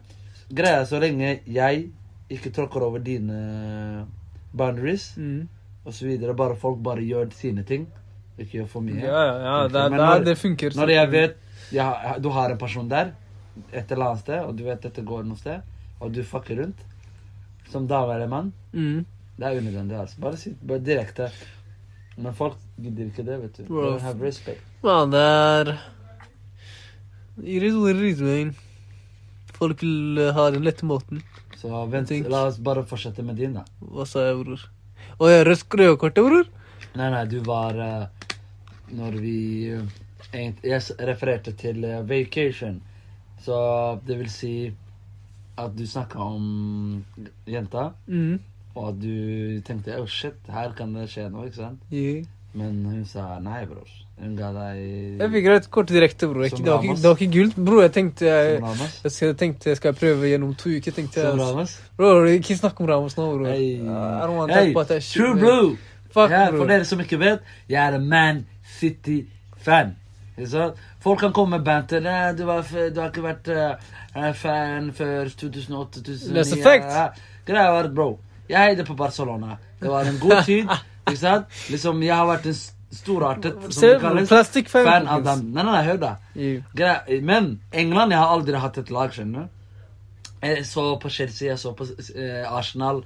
S1: Greia er så lenge jeg ikke tråkker over dine boundaries
S2: Mm.
S1: osv. Bare folk bare gjør sine ting, ikke gjør for mye.
S2: Ja, ja, ja,
S1: Funker.
S2: da,
S1: Men
S2: da,
S1: når-
S2: det funker.
S1: Når jeg vet ja, du har en person der, et eller annet sted, og du vet dette går noe sted, og du fucker rundt som daværende mann,
S2: Mm.
S1: det er unødvendig. altså. Bare si bare direkte. Men folk gidder ikke det, vet du.
S2: Bro.
S1: Don't have respect.
S2: Man, det er It is what it is, man. Folk vil eh, ha den lette måten.
S1: Så vent,
S2: Tenk.
S1: la oss bare fortsette med din, da.
S2: Hva sa jeg, bror? Å ja, rødt grøkortet, bror?
S1: Nei, nei, du var eh, Når vi eh, egent- Jeg s- refererte til eh, vacation. Så det vil si at du snakka om jenta.
S2: Mm.
S1: Og at du tenkte oh shit, her kan det skje noe, ikke sant?
S2: Yeah.
S1: Men hun sa nei, bror. Hun ga deg
S2: Jeg fikk rødt kort direkte, bror. Ikke,
S1: Som
S2: det, var ikke,
S1: Ramos.
S2: det var ikke gult. Bror, jeg tenkte jeg,
S1: Som Ramos.
S2: jeg, skal- tenkte, jeg skal prøve gjennom to uker. tenkte
S1: Som
S2: jeg.
S1: Ramos.
S2: Bror, ikke snakk om Ramos nå, bror.
S1: Hey.
S2: I don't want to
S1: Hey,
S2: talk about that shit.
S1: True
S2: man.
S1: Blue!
S2: Fuck,
S1: ja, for
S2: bror.
S1: dere som ikke vet, jeg er en Man City-fan. Ikke sant? Folk kan komme med band til «Nei, du, var, f- du har ikke vært eh, fan før 2008-2009.
S2: That's a fact.
S1: Greia var, bro, jeg heide på Barcelona. Det var en god tid. ikke sant? Liksom, Jeg har vært en s- storartet som
S2: Se,
S1: det kalles.
S2: plastikkfan,
S1: Fan av
S2: folkens.
S1: dem. Nei, nei, nei, hør da.
S2: I-
S1: Gre- Men England jeg har aldri hatt et lag, skjønner du. Jeg så på Chelsea, jeg så på eh, Arsenal.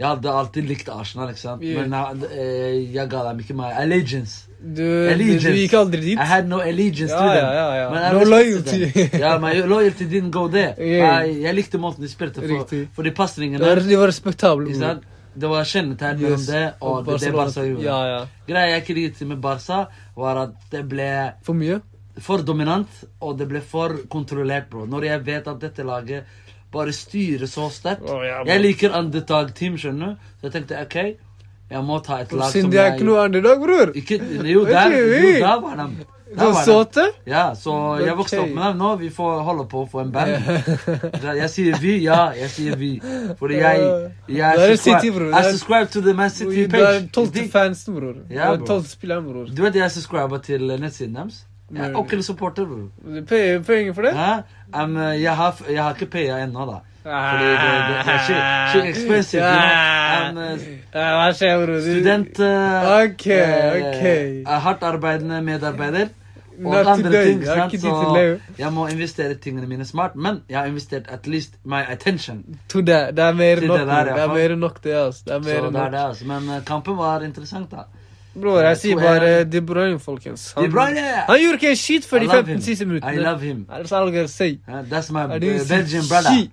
S1: Jeg hadde alltid likt Arsenal, ikke sant?
S2: Mm. Yeah.
S1: men jeg, eh, jeg ga dem ikke my allegiance.
S2: Du, du,
S1: Allegiance.
S2: du gikk aldri dit.
S1: I had no allegiance
S2: Ja,
S1: to them.
S2: ja, ja, ja.
S1: Men jeg
S2: No
S1: respekter
S2: loyalty.
S1: dem. ja, my loyalty didn't go there.
S2: Yeah.
S1: Jeg, jeg likte måten de spilte på,
S2: Riktig.
S1: for de
S2: Det var,
S1: pasningene.
S2: de var respektable.
S1: ikke
S2: bror.
S1: sant? Det var kjennetegn mellom
S2: Yes.
S1: det og det, det
S2: Barcelona.
S1: Barca gjorde.
S2: Ja, ja.
S1: Greia jeg ikke likte med Barca, var at det ble
S2: For mye?
S1: for dominant, og det ble for kontrollert, bro. Når jeg vet at dette laget bare styrer så sterkt
S2: Å, ja, bro.
S1: Jeg liker underdog-team, skjønner du. Så jeg tenkte OK, jeg må ta et lag
S2: Siden
S1: som
S2: de er ikke noe underdog, bror.
S1: ikke, Jo,
S2: Vet
S1: der,
S2: du,
S1: jo,
S2: vi-
S1: der var de.
S2: Så sånn. såte?
S1: Ja, så jeg vokste opp med dem nå. Vi får holde på å få en band. Så Jeg sier vi, ja. Jeg sier vi. Fordi jeg Jeg
S2: Det er
S1: er
S2: City,
S1: subscribed,
S2: bror. Det
S1: I
S2: er-
S1: subscribe to the Man City
S2: Du er
S1: page.
S2: tolvte
S1: De-
S2: fansen, bror. Du
S1: Ja,
S2: er
S1: bror.
S2: tolvte spilleren, bror.
S1: Du vet jeg subscriber til eh, nettsiden deres? Jeg er
S2: Nei.
S1: ikke en supporter, bror.
S2: Du pay- Penger for det?
S1: Hæ? Em, eh, jeg, har, f- jeg har ikke paya ennå, da. Fordi det, det, det er shit, shit expensive. You know? Em, eh,
S2: Ja, Hva skjer, bror? Du-
S1: student eh,
S2: Ok,
S1: eh,
S2: ok.
S1: er hardt arbeidende medarbeider. Og
S2: Not
S1: andre
S2: today.
S1: ting.
S2: Jeg har
S1: Sant?
S2: ikke tid til
S1: Så
S2: det.
S1: jeg må investere tingene mine smart, men jeg har investert at least my attention.
S2: To det. Det er mer
S1: Til
S2: enn nok.
S1: det der,
S2: bror. Det er
S1: ja.
S2: mer enn nok, det. ass. Det er
S1: Så
S2: mer enn
S1: det er
S2: nok.
S1: det, altså. Men eh, kampen var interessant, da.
S2: Bror, jeg sier
S1: To
S2: bare
S1: er-
S2: De Bruyne, folkens.
S1: De
S2: Han,
S1: Bruyne!
S2: han gjorde ikke en shit før
S1: I
S2: de
S1: love
S2: 15
S1: him.
S2: siste
S1: I
S2: minuttene.
S1: love him.
S2: Er det sånn jeg sier?
S1: Eh, That's my
S2: Er
S1: eh,
S2: det jo
S1: Belgian
S2: shit?
S1: brother.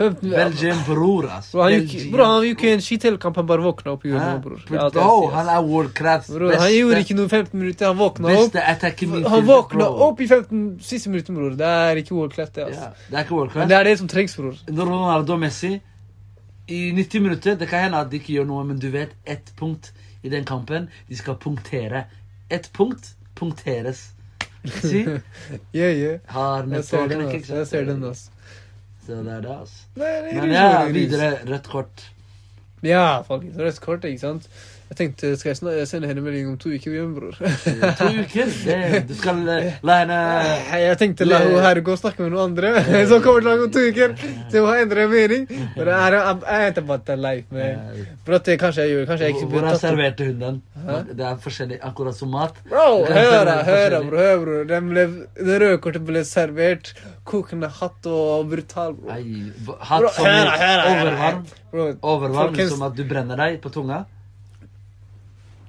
S2: 15
S1: Belgian bror, altså. ass.
S2: Bro, han
S1: Belgian.
S2: gikk, bro, han gikk jo en skit hele kampen, han bare våkna opp i
S1: Hæ?
S2: hjørnet, bror. Ja,
S1: Bro,
S2: det er sykt,
S1: han
S2: ass.
S1: er World Crafts
S2: Bror, han gjorde ikke noe i 15 minutter, han våkna opp.
S1: beste attacken min
S2: Han våkna opp i 15 siste minutter, bror. Det er ikke World Class, det, ass.
S1: Ja, det er ikke World
S2: Men
S1: Craft.
S2: det er det som trengs, bror.
S1: Når Ronaldo og Messi i 90 minutter Det kan hende at de ikke gjør noe, men du vet ett punkt i den kampen. De skal punktere. Ett punkt punkteres. Si?
S2: Yeah, yeah.
S1: Har
S2: Jeg
S1: nettopp
S2: ser den,
S1: knekket,
S2: ass. Jeg ser den, ass.
S1: Så det er det, altså.
S2: Nei, det er
S1: Men
S2: ris,
S1: ja,
S2: det er ris.
S1: videre. Rødt kort.
S2: Ja, folkens. Rødt kort, ikke sant? Jeg tenkte, skal jeg snak- jeg sende henne melding om to uker igjen, bror?
S1: Eh, To uker. Det, du skal eh, la henne
S2: Jeg tenkte la hun her gå og snakke med noen andre, som kommer til å lage om to uker. Til hun endrer mening. But I don't- I ain't about that life, man.
S1: eh,
S2: Bro, det kanskje jeg gjorde. Kanskje jeg ikke burde
S1: Hvordan
S2: tatt opp-
S1: serverte hun den? Det er forskjellig, akkurat som mat.
S2: Bro,
S1: Det er
S2: hør da,
S1: veldig
S2: hør da,
S1: forskjellig.
S2: bro. Hør, bro. Den ble, det røde kortet ble servert kokende hatt og brutal, bro.
S1: Nei, hatt
S2: Bro,
S1: som
S2: hør da, hør da, hør da.
S1: overvarm.
S2: bro.
S1: Overvarm,
S2: Folkens-
S1: som at du brenner deg på tunga.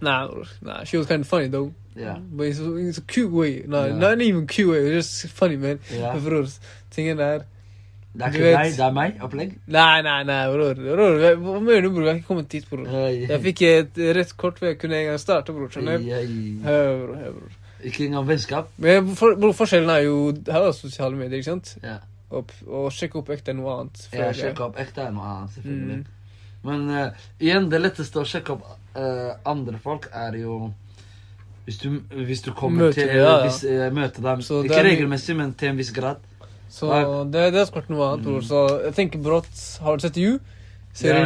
S2: Nah, bro. Nah, she was kind of funny, though.
S1: Ja.
S2: But it's, it's a cute way. No,
S1: Ja.
S2: not even cute way. It's just funny, man.
S1: Ja.
S2: Men Bror, tingen er
S1: Det er
S2: Du
S1: ikke
S2: vet-
S1: deg, det er meg. Opplegg.
S2: Nei, nei, nei, bror. bror hva- hva mener du, bror? Jeg har ikke kommet dit, bror.
S1: Oi.
S2: Jeg fikk et rett kort hvor jeg kunne en gang starte, bror. Skjønner du?
S1: Ei, ei.
S2: Hør, bror. hør, bror.
S1: Ikke engang vennskap.
S2: Men for, bror, forskjellen er jo Her er sosiale medier, ikke sant?
S1: Ja.
S2: Opp, og sjekke opp ekte noe annet.
S1: Jeg
S2: føler jeg. Mm.
S1: sjekker opp ekte er noe annet, selvfølgelig. Men eh, igjen, det letteste å sjekke opp eh, andre folk er jo hvis du, hvis du kommer
S2: Møter
S1: til
S2: dem, ja, ja.
S1: Hvis, eh, møter dem.
S2: Så det
S1: ikke
S2: er mye-
S1: regelmessig, men til en viss grad.
S2: Så
S1: Nei. Mm.
S2: det, det er så klart noe annet, bror. Så jeg tenker brått Har du sett You? Serien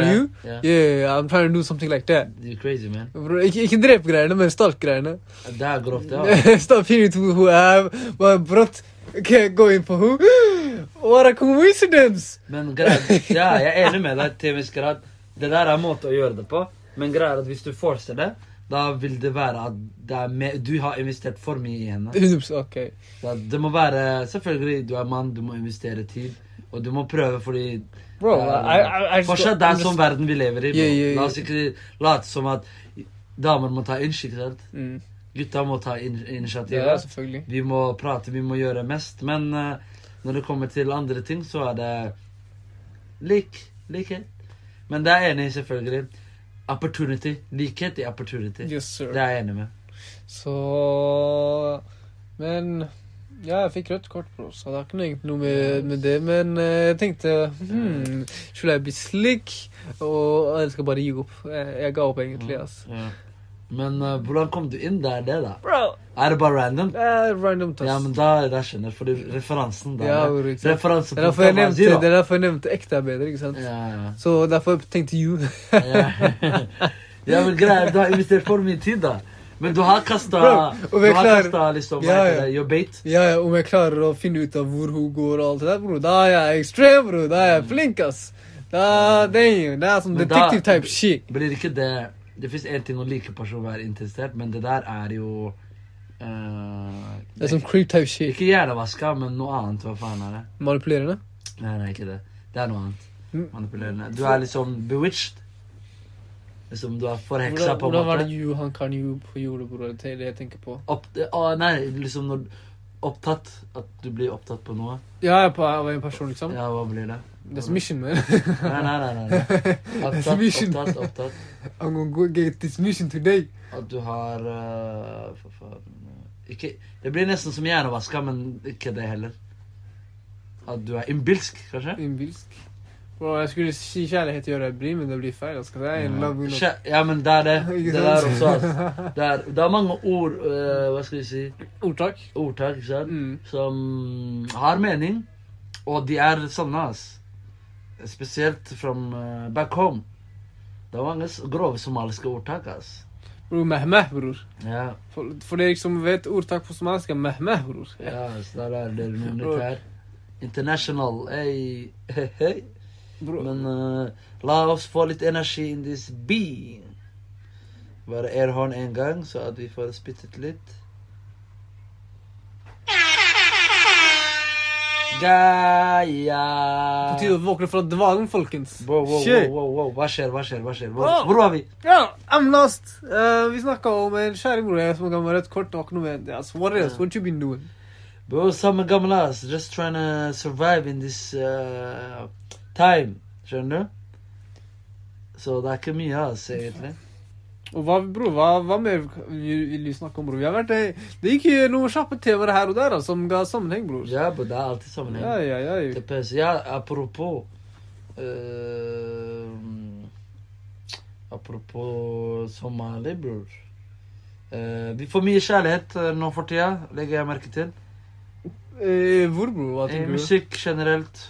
S1: Ja, ja.
S2: You?
S1: Ja.
S2: Yeah, I'm trying to do something like that.
S1: You're crazy, man.
S2: Bro, ikke ikke drep-greiene, men stalk-greiene.
S1: Det er grovt, ja.
S2: Stopp finne ut hvor hun er. Bare brått okay, gå inn på henne. What a coincidence!
S1: Men greit, ja, jeg er enig med deg til en viss grad. Det der er en måte å gjøre det på. Men greia er at hvis du forser det, da vil det være at det er mer- du har investert for mye i henne.
S2: 100% ok.
S1: Så at det må være Selvfølgelig, du er mann, du må investere tid. Og du må prøve, fordi
S2: Bro,
S1: eh,
S2: I, I, I just
S1: Fortsatt det er sånn verden vi lever i. bro.
S2: Yeah, yeah,
S1: La oss ikke late som at damer må ta inch, ikke sant?
S2: Mm.
S1: Gutta må ta in initiativ.
S2: Ja, selvfølgelig.
S1: Vi må prate, vi må gjøre mest. Men eh, når det kommer til andre ting, så er det lik. Likhet. Men det er jeg enig i, selvfølgelig. Opportunity. Likhet i opportunity.
S2: Yes,
S1: Det
S2: sir.
S1: er jeg enig med.
S2: Så Men ja, jeg fikk rødt kort, bro, så det har ikke noe- egentlig noe med, med det. Men eh, jeg tenkte hmm, Skulle jeg bli slik? Og jeg skal bare gi opp. Jeg, jeg ga opp
S1: Mm.
S2: egentlig, ass.
S1: Ja. Men eh, hvordan kom du inn der, det, da?
S2: Bro,
S1: Er det bare random?
S2: det er random tass.
S1: Ja, men da da skjønner jeg, fordi referansen der
S2: Ja,
S1: ja,
S2: bror, ikke sant.
S1: Referansen
S2: det
S1: på
S2: er derfor jeg
S1: Thomas
S2: nevnte,
S1: Zero.
S2: det er derfor jeg nevnte ekte er bedre, ikke sant?
S1: Ja, ja.
S2: Så derfor tenkte you.
S1: ja. ja, men greier, du har investert for mye tid, da. Men du har kasta
S2: Bro, og
S1: Du
S2: vi er
S1: har
S2: klar.
S1: kasta liksom
S2: Ja,
S1: hva heter
S2: ja.
S1: det, your bait.
S2: ja, ja, om jeg klarer å finne ut av hvor hun går og alt det der, bro, da er jeg ekstrem, bro. Mm. Da er jeg flink, ass. Da, damn, det er sånn
S1: Men da-
S2: detective type shit.
S1: Blir ikke det Det fins én ting å like personvern intensivt, men det der er jo eh,
S2: Det er som creep type shit.
S1: Ikke hjernevaska, men noe annet. Hva faen er det?
S2: Manipulerende.
S1: Nei, nei, ikke det. Det er noe annet.
S2: Mm.
S1: Manipulerende. Du er liksom bewitched. Liksom du er forheksa
S2: Hvordan,
S1: på
S2: hvordan
S1: en
S2: var det
S1: måte.
S2: you, han kan you på julebordet det er det jeg tenker på?
S1: Opp, eh, å, nei, liksom når Opptatt. At du blir opptatt på noe.
S2: Ja, jeg er på, jeg var en person, liksom.
S1: Ja, hva blir det?
S2: That's mission, man.
S1: Nei, nei, nei. nei, nei. Opptatt,
S2: Mission.
S1: opptatt, opptatt.
S2: I'm gonna go get this mission today.
S1: At du har eh, for faen, eh, ikke, Det blir nesten som hjernevaska, men ikke det heller. At du er innbilsk, kanskje?
S2: Innbilsk. Bro, jeg skulle si kjærlighet gjør deg blid, men det blir feil. Jeg skal si I love you.
S1: Skje- ja, men det er det.
S2: Ikke
S1: Det der
S2: sant?
S1: også, altså. Det er, det er mange ord eh, Hva skal vi si?
S2: Ordtak.
S1: Ordtak ikke sant?
S2: Mm.
S1: som har mening, og de er sanne. ass. Spesielt from eh, back home. Det er mange s- grove somaliske ordtak. ass.
S2: Bro, mehmeh, bror.
S1: Ja,
S2: For, for dere som vet ordtak på somalisk, er mehmeh, bror.
S1: ja ass, der er det noe nytt her. International, hey, hey, hey.
S2: Bro,
S1: Men eh, la oss få litt energi in this bee. Bare airhorn en gang, så at vi får spyttet litt.
S2: på
S1: Gaia.
S2: tide å våkne fra dvalen, folkens.
S1: Wow, wow, wow,
S2: Shit.
S1: wow, wow. Hva skjer, hva skjer? hva skjer? Hvor,
S2: Wow.
S1: hvor var vi?
S2: Ja, I'm lost. Eh, vi snakka om en kjerringbror jeg som kan være et kort og noe med. Yes, what else? What you been doing?
S1: Bro, samme gamle ass. Just trying to survive in this eh, time. Skjønner du? Så det er ikke mye, ass, egentlig.
S2: Og hva, bro, hva, hva mer vil vil vi snakke om, bror? Vi har vært det, det gikk jo noen kjappe temaer her og der da, som ga sammenheng, bror.
S1: Ja, men det er alltid sammenheng.
S2: Ja, ja, ja.
S1: Det pøs. Ja, apropos eh, Apropos Somali, bror. Eh, vi får mye kjærlighet eh, nå for tida, legger jeg merke til.
S2: Eh, hvor, bror? Hva
S1: I
S2: tenker du?
S1: musikk generelt.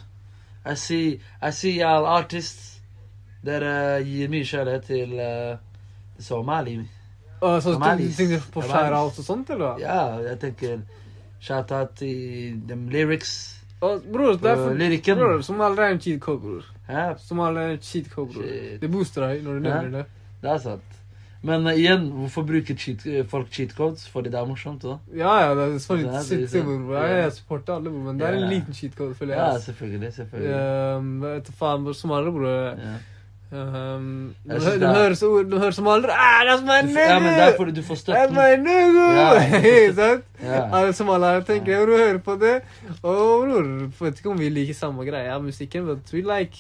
S1: Jeg sier jeg sier all artist Dere gir mye kjærlighet til eh, Somali.
S2: Å, Eh, så du
S1: Amalis.
S2: tenker på
S1: Amalis.
S2: shoutouts og sånt, eller?
S1: Ja, jeg tenker Shout-out til dem lyrics.
S2: Å, bror, det er for...
S1: Øh, lyrikken.
S2: Bror, som alle er en cheat code, bror.
S1: Ja,
S2: Som alle er en cheat code, bror.
S1: Shit.
S2: Det booster deg når du
S1: Ja.
S2: nevner det.
S1: det er sant. Men eh, igjen, hvorfor bruker cheat, eh, folk cheat codes? Fordi det er morsomt, da.
S2: Ja, ja, det er sånn
S1: Det er
S2: litt sitt,
S1: det,
S2: bror.
S1: ja.
S2: Jeg, jeg supporter alle, bror, men det er
S1: Ja.
S2: en liten cheat code, føler jeg.
S1: Ja,
S2: ass.
S1: selvfølgelig. selvfølgelig.
S2: Ehm, Jeg vet da faen, bror, som alle, bror.
S1: Ja.
S2: Um, du,
S1: Jeg
S2: hø
S1: synes
S2: du
S1: det er-
S2: hører så ord, du hører som aldri ah, that's my nigga!
S1: ja, men det er fordi du får
S2: That's
S1: støtten.
S2: my nigga!
S1: Ja.
S2: Ikke sant?
S1: Ja.
S2: Alle som alle her tenker jeg bro, hører på det. Og bror, vet ikke om vi liker samme greia, musikken, but we like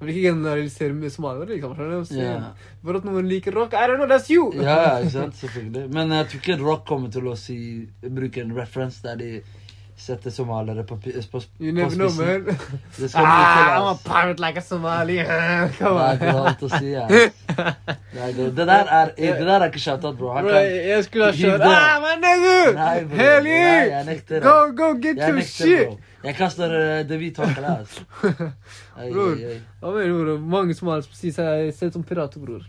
S2: Jeg vil ikke generalisere med somaliere, liksom. skjønner du?
S1: Ja.
S2: Yeah. Bare at noen liker rock. I don't know, that's you!
S1: ja, ikke sant? Selvfølgelig. Men jeg tror ikke rock kommer til å si, bruke en reference der de setter somaliere på, pi- på, sp-
S2: You
S1: på
S2: never know,
S1: spissen.
S2: man.
S1: Det skal mye
S2: Ah,
S1: til,
S2: I'm a
S1: ass.
S2: pirate like a Somali.
S1: Det
S2: Come on.
S1: er ikke noe annet å si, ass. Det, er, det, der, er, det der er ikke shoutout, bro. Han
S2: Bro,
S1: kan,
S2: jeg jeg skulle ha
S1: Hiv
S2: kjørt
S1: det.
S2: Ah, my nigga!
S1: Nei, bro.
S2: Hell
S1: Nei,
S2: yeah!
S1: jeg nekter,
S2: Go,
S1: ass.
S2: go, get
S1: jeg
S2: your
S1: nekter,
S2: shit!
S1: bro. Jeg kaster eh, det hvite håndkleet, ass. Ei,
S2: Bror.
S1: ei, ei.
S2: Ja, men, bror, mange som har sier seg selv som pirater, bror.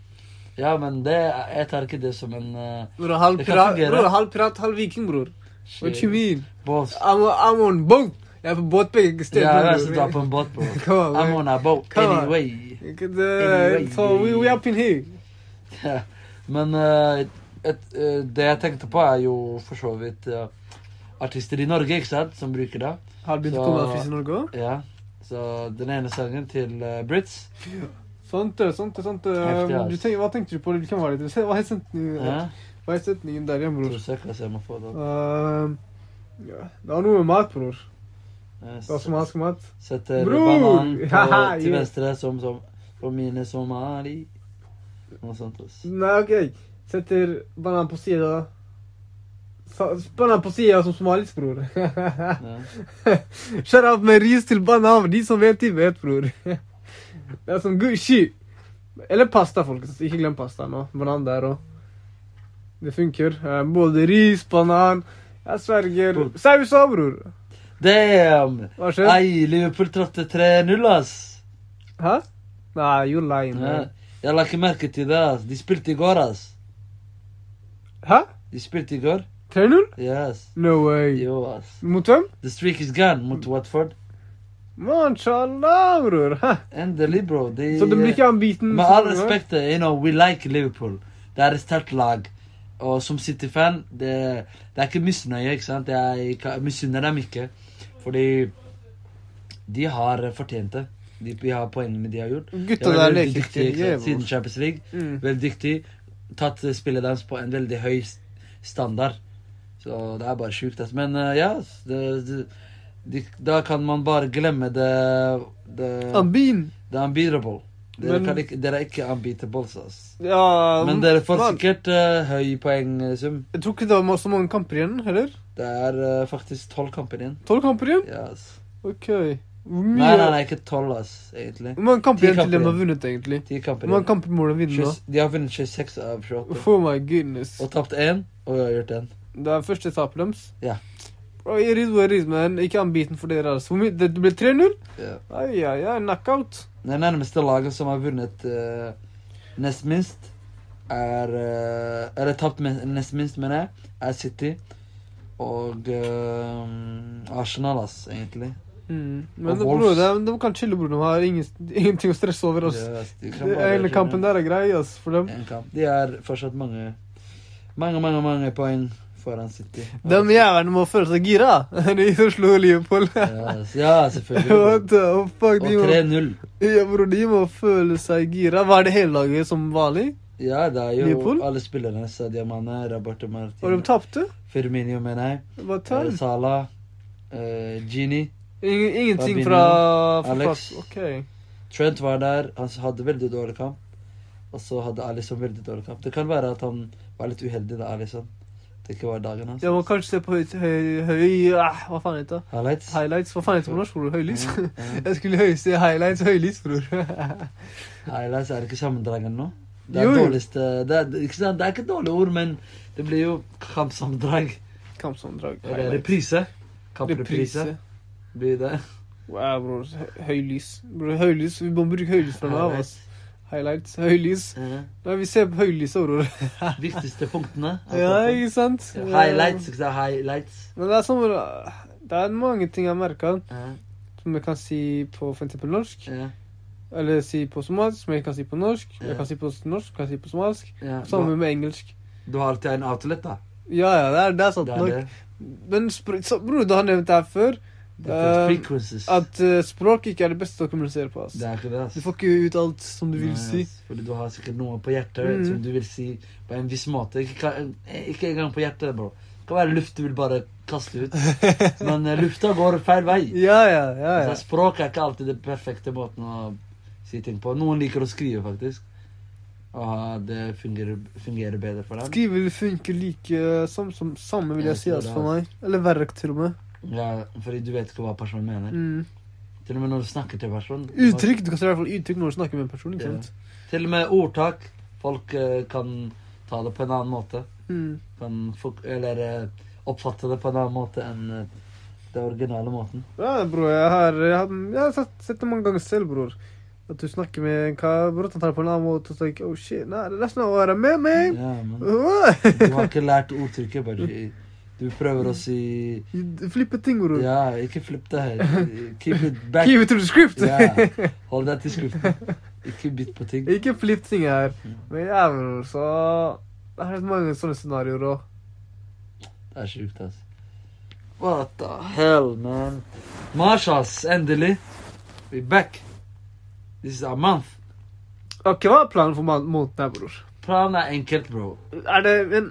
S1: Ja, men det, jeg tar ikke det som en eh,
S2: Bror, halv
S1: Det kan
S2: pirat,
S1: fungere.
S2: bror, halv, pirat halv viking, bror. What you mean? Ah,
S1: boss.
S2: I'm, I'm on boat! Jeg er på båt begge steder.
S1: Ja, jeg
S2: bror.
S1: skal dra på en båt, bro.
S2: Come on,
S1: I'm
S2: man.
S1: on a boat
S2: Come on.
S1: anyway.
S2: Ikke det- So we, we up in here.
S1: Ja. Men eh, et, eh, det jeg tenkte på, er jo for så vidt eh, artister i Norge, ikke sant, som bruker det.
S2: Har du begynt å
S1: Så-
S2: komme fra Norge òg?
S1: Ja. Så den ene sangen til eh, Brits
S2: Sant det, sant det. sant det.
S1: Heftig, ass.
S2: eh, Du tenker, hva tenkte du på? Hvilken var det? Hva er setningen,
S1: ja.
S2: hva er setningen der igjen,
S1: To
S2: bror?
S1: sek, altså, jeg må få det opp.
S2: Ehm, ja. Det var noe med mat, bror.
S1: Jeg
S2: Det var
S1: s-
S2: somalisk mat.
S1: Setter
S2: Bror!
S1: banan på,
S2: Haha,
S1: til
S2: yeah.
S1: venstre som, som på mine somali. Noe sånt. ass.
S2: Nei, ok. Setter banan på sida. Sa- Banan på sida som somalisk, bror.
S1: Ja.
S2: Shout out med ris til banan. De som vet, de vet, bror. Det er som good shit. Eller pasta, folkens. Ikke glem pasta nå. Banan der òg. Det funker. Eh, Både ris, banan Jeg sverger. Saus òg, bror.
S1: Damn!
S2: Hva skjer?
S1: Ei, Liverpool tapte 3-0, ass.
S2: Hæ? Nei, you lying.
S1: Ja.
S2: man.
S1: Jeg la ikke merke til det. ass. De spilte i går, ass.
S2: Hæ?
S1: De spilte i går.
S2: 3-0?
S1: Yes.
S2: No way.
S1: Jo, ass.
S2: Mot hvem?
S1: The streak is gone
S2: Mm.
S1: mot Watford.
S2: Mashallah, bror. Hæ?
S1: Endelig, bro. De, uh,
S2: Så det blir ikke han biten?
S1: eh, Med all respekt, you know, we like Liverpool. Det er et sterkt lag. Og som City-fan, det, det er ikke misnøye, ikke sant? Jeg kan- misunner dem ikke. Fordi de har fortjent det. De, de har poengene de har gjort.
S2: Gutta
S1: De har
S2: der
S1: vært veldig
S2: leker
S1: dyktige, ikke sant? Siden
S2: ikke.
S1: Champions League.
S2: Mm.
S1: Veldig dyktig. Tatt eh, spillet deres på en veldig høy s- standard. Så det er bare sjukt. ass. Men eh, ja det, det, de, Da kan man bare glemme det Det,
S2: Ambin.
S1: det er unbeatable. Dere,
S2: Men-
S1: kan ikke, dere er ikke unbeatables. Ass.
S2: Ja,
S1: Men dere får
S2: man-
S1: sikkert eh, høy poengsum.
S2: Jeg tror ikke det var så mange kamper igjen, heller.
S1: Det er eh, faktisk tolv kamper igjen.
S2: Tolv kamper igjen?
S1: Ja, ass.
S2: Ok. Hvor
S1: Nei,
S2: mye
S1: nei, nei, ikke tolv, ass, egentlig.
S2: Hvor mange
S1: Ti
S2: kamper igjen til
S1: kamper
S2: de har
S1: igjen.
S2: vunnet, egentlig?
S1: Ti kamper
S2: Hvor mange
S1: igjen.
S2: kamper må de vinne?
S1: Tjue- De har vunnet 26 av 28.
S2: For my goodness.
S1: Og tapt én, og har gjort én.
S2: Det er første tapet deres.
S1: Ja.
S2: Bro, it is what it is, man. Ikke anbiten for dere. Altså. Hvor mye- Det det ble 3-0?
S1: Ja.
S2: Ai, ai, ai. Knockout.
S1: Det nærmeste laget som har vunnet eh, nest minst, er eh, Eller tapt men- nest minst, mener jeg, er City. Og eh, Arsenal, ass, egentlig.
S2: Mm.
S1: Og
S2: Men det,
S1: Wolves.
S2: bro, de, de kan chille, bror. De har ingen, ingenting å stresse over. ass.
S1: Ja, ass, de kan
S2: Det
S1: bare
S2: Hele kampen
S1: gjøre
S2: der er grei ass, for dem.
S1: en kamp. De er fortsatt mange, mange, mange mange poeng foran City.
S2: De jævlene må føle seg gira de som slo Liverpool.
S1: Ja, ass, ja selvfølgelig.
S2: What the fuck,
S1: Og
S2: de må,
S1: 3-0.
S2: ja, bro, de må føle seg gira. Var det hele laget som vanlig?
S1: Ja, det er jo
S2: Liverpool?
S1: alle spillerne. Sadio Mane, Roberto
S2: Og de
S1: Martin,
S2: tapte?
S1: Firmino, mener jeg.
S2: Hva
S1: eh,
S2: tall?
S1: Salah, eh, Gini.
S2: Ingen, ingenting
S1: Fabinho,
S2: fra fra-
S1: Alex.
S2: Ok.
S1: Trent var der, han hadde veldig dårlig kamp. Og så hadde Alison veldig dårlig kamp. Det kan være at han var litt uheldig da, Alison. Det ikke var dagen hans.
S2: Jeg må kanskje se på høy, høy, høy ah, Hva faen heter det?
S1: Highlights.
S2: Highlights? Hva faen heter det på norsk, bror? Høylys?
S1: Ja, ja.
S2: Jeg skulle høy, se highlights høylys, bror.
S1: Highlights er ikke sammendragen nå. Det er
S2: Jo, jo.
S1: dårligste det er, ikke sant? det er ikke et dårlig ord, men det blir jo kampsammendrag.
S2: Kampsammendrag.
S1: Eller
S2: highlights.
S1: reprise. Kampreprise blir det.
S2: Wow, bror. Hø- Høylys. Bror, høylys. Vi må bruke høylys fra nå av. ass. Highlights. Høylys.
S1: Ja.
S2: Nei, vi ser på høylyset, bror.
S1: Viktigste punktene. av
S2: Ja,
S1: kampen.
S2: ikke sant?
S1: Highlights. Ikke sant? Highlights.
S2: Men det er sånn bror, Det er mange ting jeg merker
S1: Ja,
S2: som jeg kan si på for eksempel norsk.
S1: ja,
S2: Eller si på somalisk, som jeg kan si på norsk. Jeg kan si på norsk, kan si på somalisk.
S1: ja.
S2: Samme
S1: Du,
S2: med engelsk.
S1: du har alltid en outlet, da.
S2: Ja, ja, det er, det er sant
S1: Det er
S2: nok.
S1: det.
S2: Men spr så, bror, du har nevnt det her før,
S1: Det er
S2: Eh,
S1: frequencies.
S2: at eh, språk ikke er det beste å kommunisere på. ass.
S1: Det er ikke det, ass.
S2: Du får ikke ut alt som du vil
S1: Nei,
S2: si.
S1: ass, Fordi du har sikkert noe på hjertet
S2: Mhm.
S1: som du vil si på en viss måte. Ikke, kan- eh, ikke engang på hjertet, bro. Det kan være luft du vil bare kaste ut. Men eh, lufta går feil vei.
S2: Ja, ja, ja. ja.
S1: Altså, språk er ikke alltid den perfekte måten å si ting på. Noen liker å skrive, faktisk. Og ha- det fungerer, fungerer bedre for dem.
S2: Skrive funker like som, som samme, vil
S1: Jeg
S2: jeg si,
S1: tror
S2: ass,
S1: det,
S2: for meg. Eller verre, til og med.
S1: Ja, fordi du vet ikke hva personen mener.
S2: Mm.
S1: Til og med når du snakker til personen.
S2: Uttrykk. Du kan si i hvert fall uttrykk når du snakker med en person. ikke
S1: Ja.
S2: sant?
S1: Til og med ordtak. Folk eh, kan ta det på en annen måte.
S2: Mm.
S1: kan fok eller eh, oppfatte det på en annen måte enn eh, den originale måten.
S2: Ja, bror, jeg har, jeg har, jeg har sett, sett det mange ganger selv, bror. At du snakker med en kar, bror, han tar det på en annen måte og tenker oh shit, nei, that's not what I meant, man.
S1: Ja, men
S2: Åh!
S1: du har ikke lært ordtrykket, bare du- du prøver å si
S2: Du Flipper ting, bror.
S1: Ja, ikke flipp det her. Keep it back.
S2: Keep it to the script.
S1: Ja, hold deg til skriften. Ikke bytt på ting.
S2: Ikke flipp ting her.
S1: Mm.
S2: Men ja, bror, så Det er mange sånne scenarioer òg.
S1: Det er sjukt, ass. What the hell, man? Mars, ass, endelig. We back. This is our month.
S2: Ok, hva er planen for man- måneden her, bror?
S1: Planen er enkelt, bro.
S2: Er det Men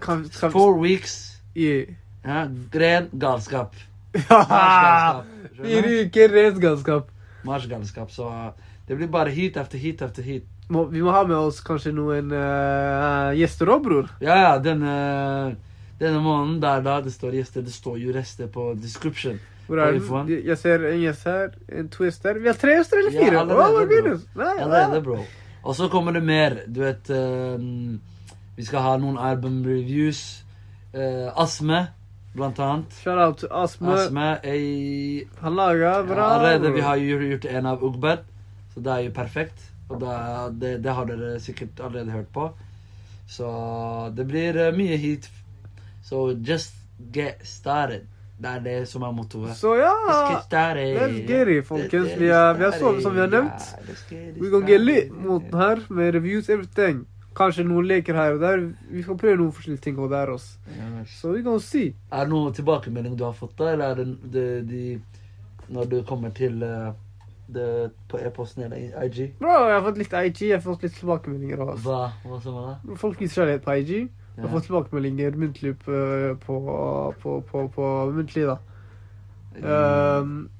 S2: kan, Skal vi
S1: Four weeks.
S2: Yeah.
S1: Ja, ren galskap.
S2: Ja!
S1: Mars galskap.
S2: Vi
S1: Skjønner du?
S2: ryker redskapsskap.
S1: marsgalskap. Så eh, det blir bare hit etter hit etter hit.
S2: Må, vi må ha med oss kanskje noen eh, gjester òg, bror.
S1: Ja, ja, denne, denne måneden der da, det står gjester. Det står jo rester på description.
S2: Hvor er
S1: Oi, faen.
S2: den? Jeg- Jeg ser en gjest her, en twist der. Vi har tre gjester eller
S1: Ja,
S2: fire?
S1: allerede,
S2: Å, my
S1: bror.
S2: goodness. Nei,
S1: Allerede,
S2: ja.
S1: bro. Og så kommer det mer. Du vet eh, Vi skal ha noen album reviews. Eh, Asme, blant annet.
S2: Shout out til Asme.
S1: Asme ei,
S2: Han laga bra.
S1: Allerede.
S2: bror.
S1: Vi har jo gjort en av Ugbert, så det er jo perfekt. Og da, det, det har dere sikkert allerede hørt på. Så det blir eh, mye hit. Så just get started. Det er det som er mottoet.
S2: Så ja.
S1: Let's get started.
S2: Let's get it, folkens.
S1: Let's
S2: Vi er- vi er så-
S1: started.
S2: som vi har nevnt.
S1: Ja, let's get
S2: Vi kan
S1: started.
S2: get litt mot den her med reviews everything. Kanskje noen leker her og der. Vi skal prøve noen forskjellige ting og der også. Så vi kan si.
S1: Er det noen tilbakemelding du har fått, da? Eller er det de, de Når du kommer til eh, det, på e-posten eller i- IG?
S2: Bra, jeg har fått litt IG, jeg har fått litt tilbakemeldinger. av oss.
S1: Hva, hva som er det?
S2: Folk viser kjærlighet på IG. Jeg har
S1: Ja.
S2: fått tilbakemeldinger muntlig på, på, på, på, på muntlig, da.
S1: Mm.
S2: Um,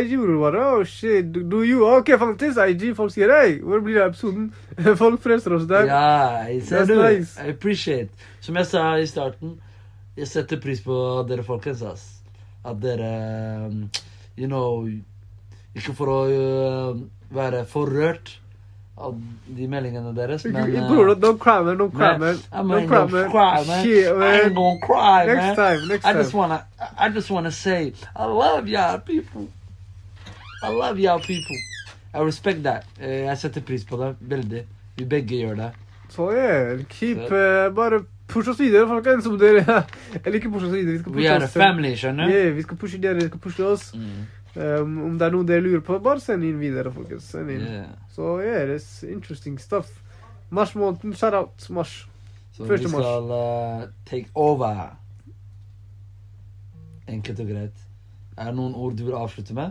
S2: IG gjorde det bare. Oh shit, do, do you? ah, Ok, faktisk, IG. Folk sier hei, hvor blir det av episoden? Folk freser oss der.
S1: Ja, jeg ser
S2: That's
S1: du.
S2: nice.
S1: I appreciate. Som jeg sa i starten, jeg setter pris på dere folkens, ass. At dere um, You know Ikke for å uh, være forrørt av de meldingene deres, men uh,
S2: Bror, don't cry, man. Don't cry,
S1: men-
S2: man.
S1: I'm
S2: Don't
S1: ain't
S2: cry,
S1: gonna cry,
S2: man.
S1: man.
S2: Shit,
S1: I ain't
S2: man.
S1: gonna cry, man.
S2: Next time, next
S1: I just
S2: time.
S1: wanna, I just wanna say, I love y'all people. I love y'all people. I respect that. Eh, Jeg setter pris på det veldig. Vi begge gjør det.
S2: Så yeah, keep eh, Bare push oss videre, folkens. Om dere Eller ikke push oss videre. Vi skal
S1: We
S2: pushe
S1: are a
S2: oss selv.
S1: family, skjønner du?
S2: Yeah, vi skal pushe dere, vi skal pushe oss.
S1: Mm,
S2: Um, om det er noe dere lurer på, bare send inn videre, folkens. Send inn.
S1: yeah.
S2: Så yeah, it's interesting stuff. Mars måneden, shout out Mars.
S1: Så vi
S2: Første mars.
S1: skal eh, take over. Enkelt og greit. Er det noen ord du vil avslutte med?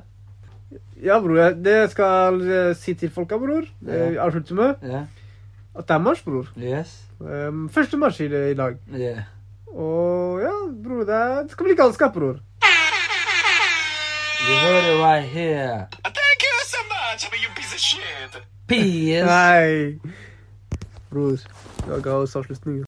S2: Ja, bror. jeg- Det jeg skal eh, si til folka, bror, eh, vi avslutter med,
S1: Ja?
S2: at det er mars, bror.
S1: Yes?
S2: Um, første mars i, i dag.
S1: Yeah.
S2: Og ja, bror, det, er, det skal bli galskap, bror.
S1: You heard it right here.
S3: Thank you so much, I mean, you piece of shit.
S1: Peace.
S2: Nei. Bror, det var gals avslutning.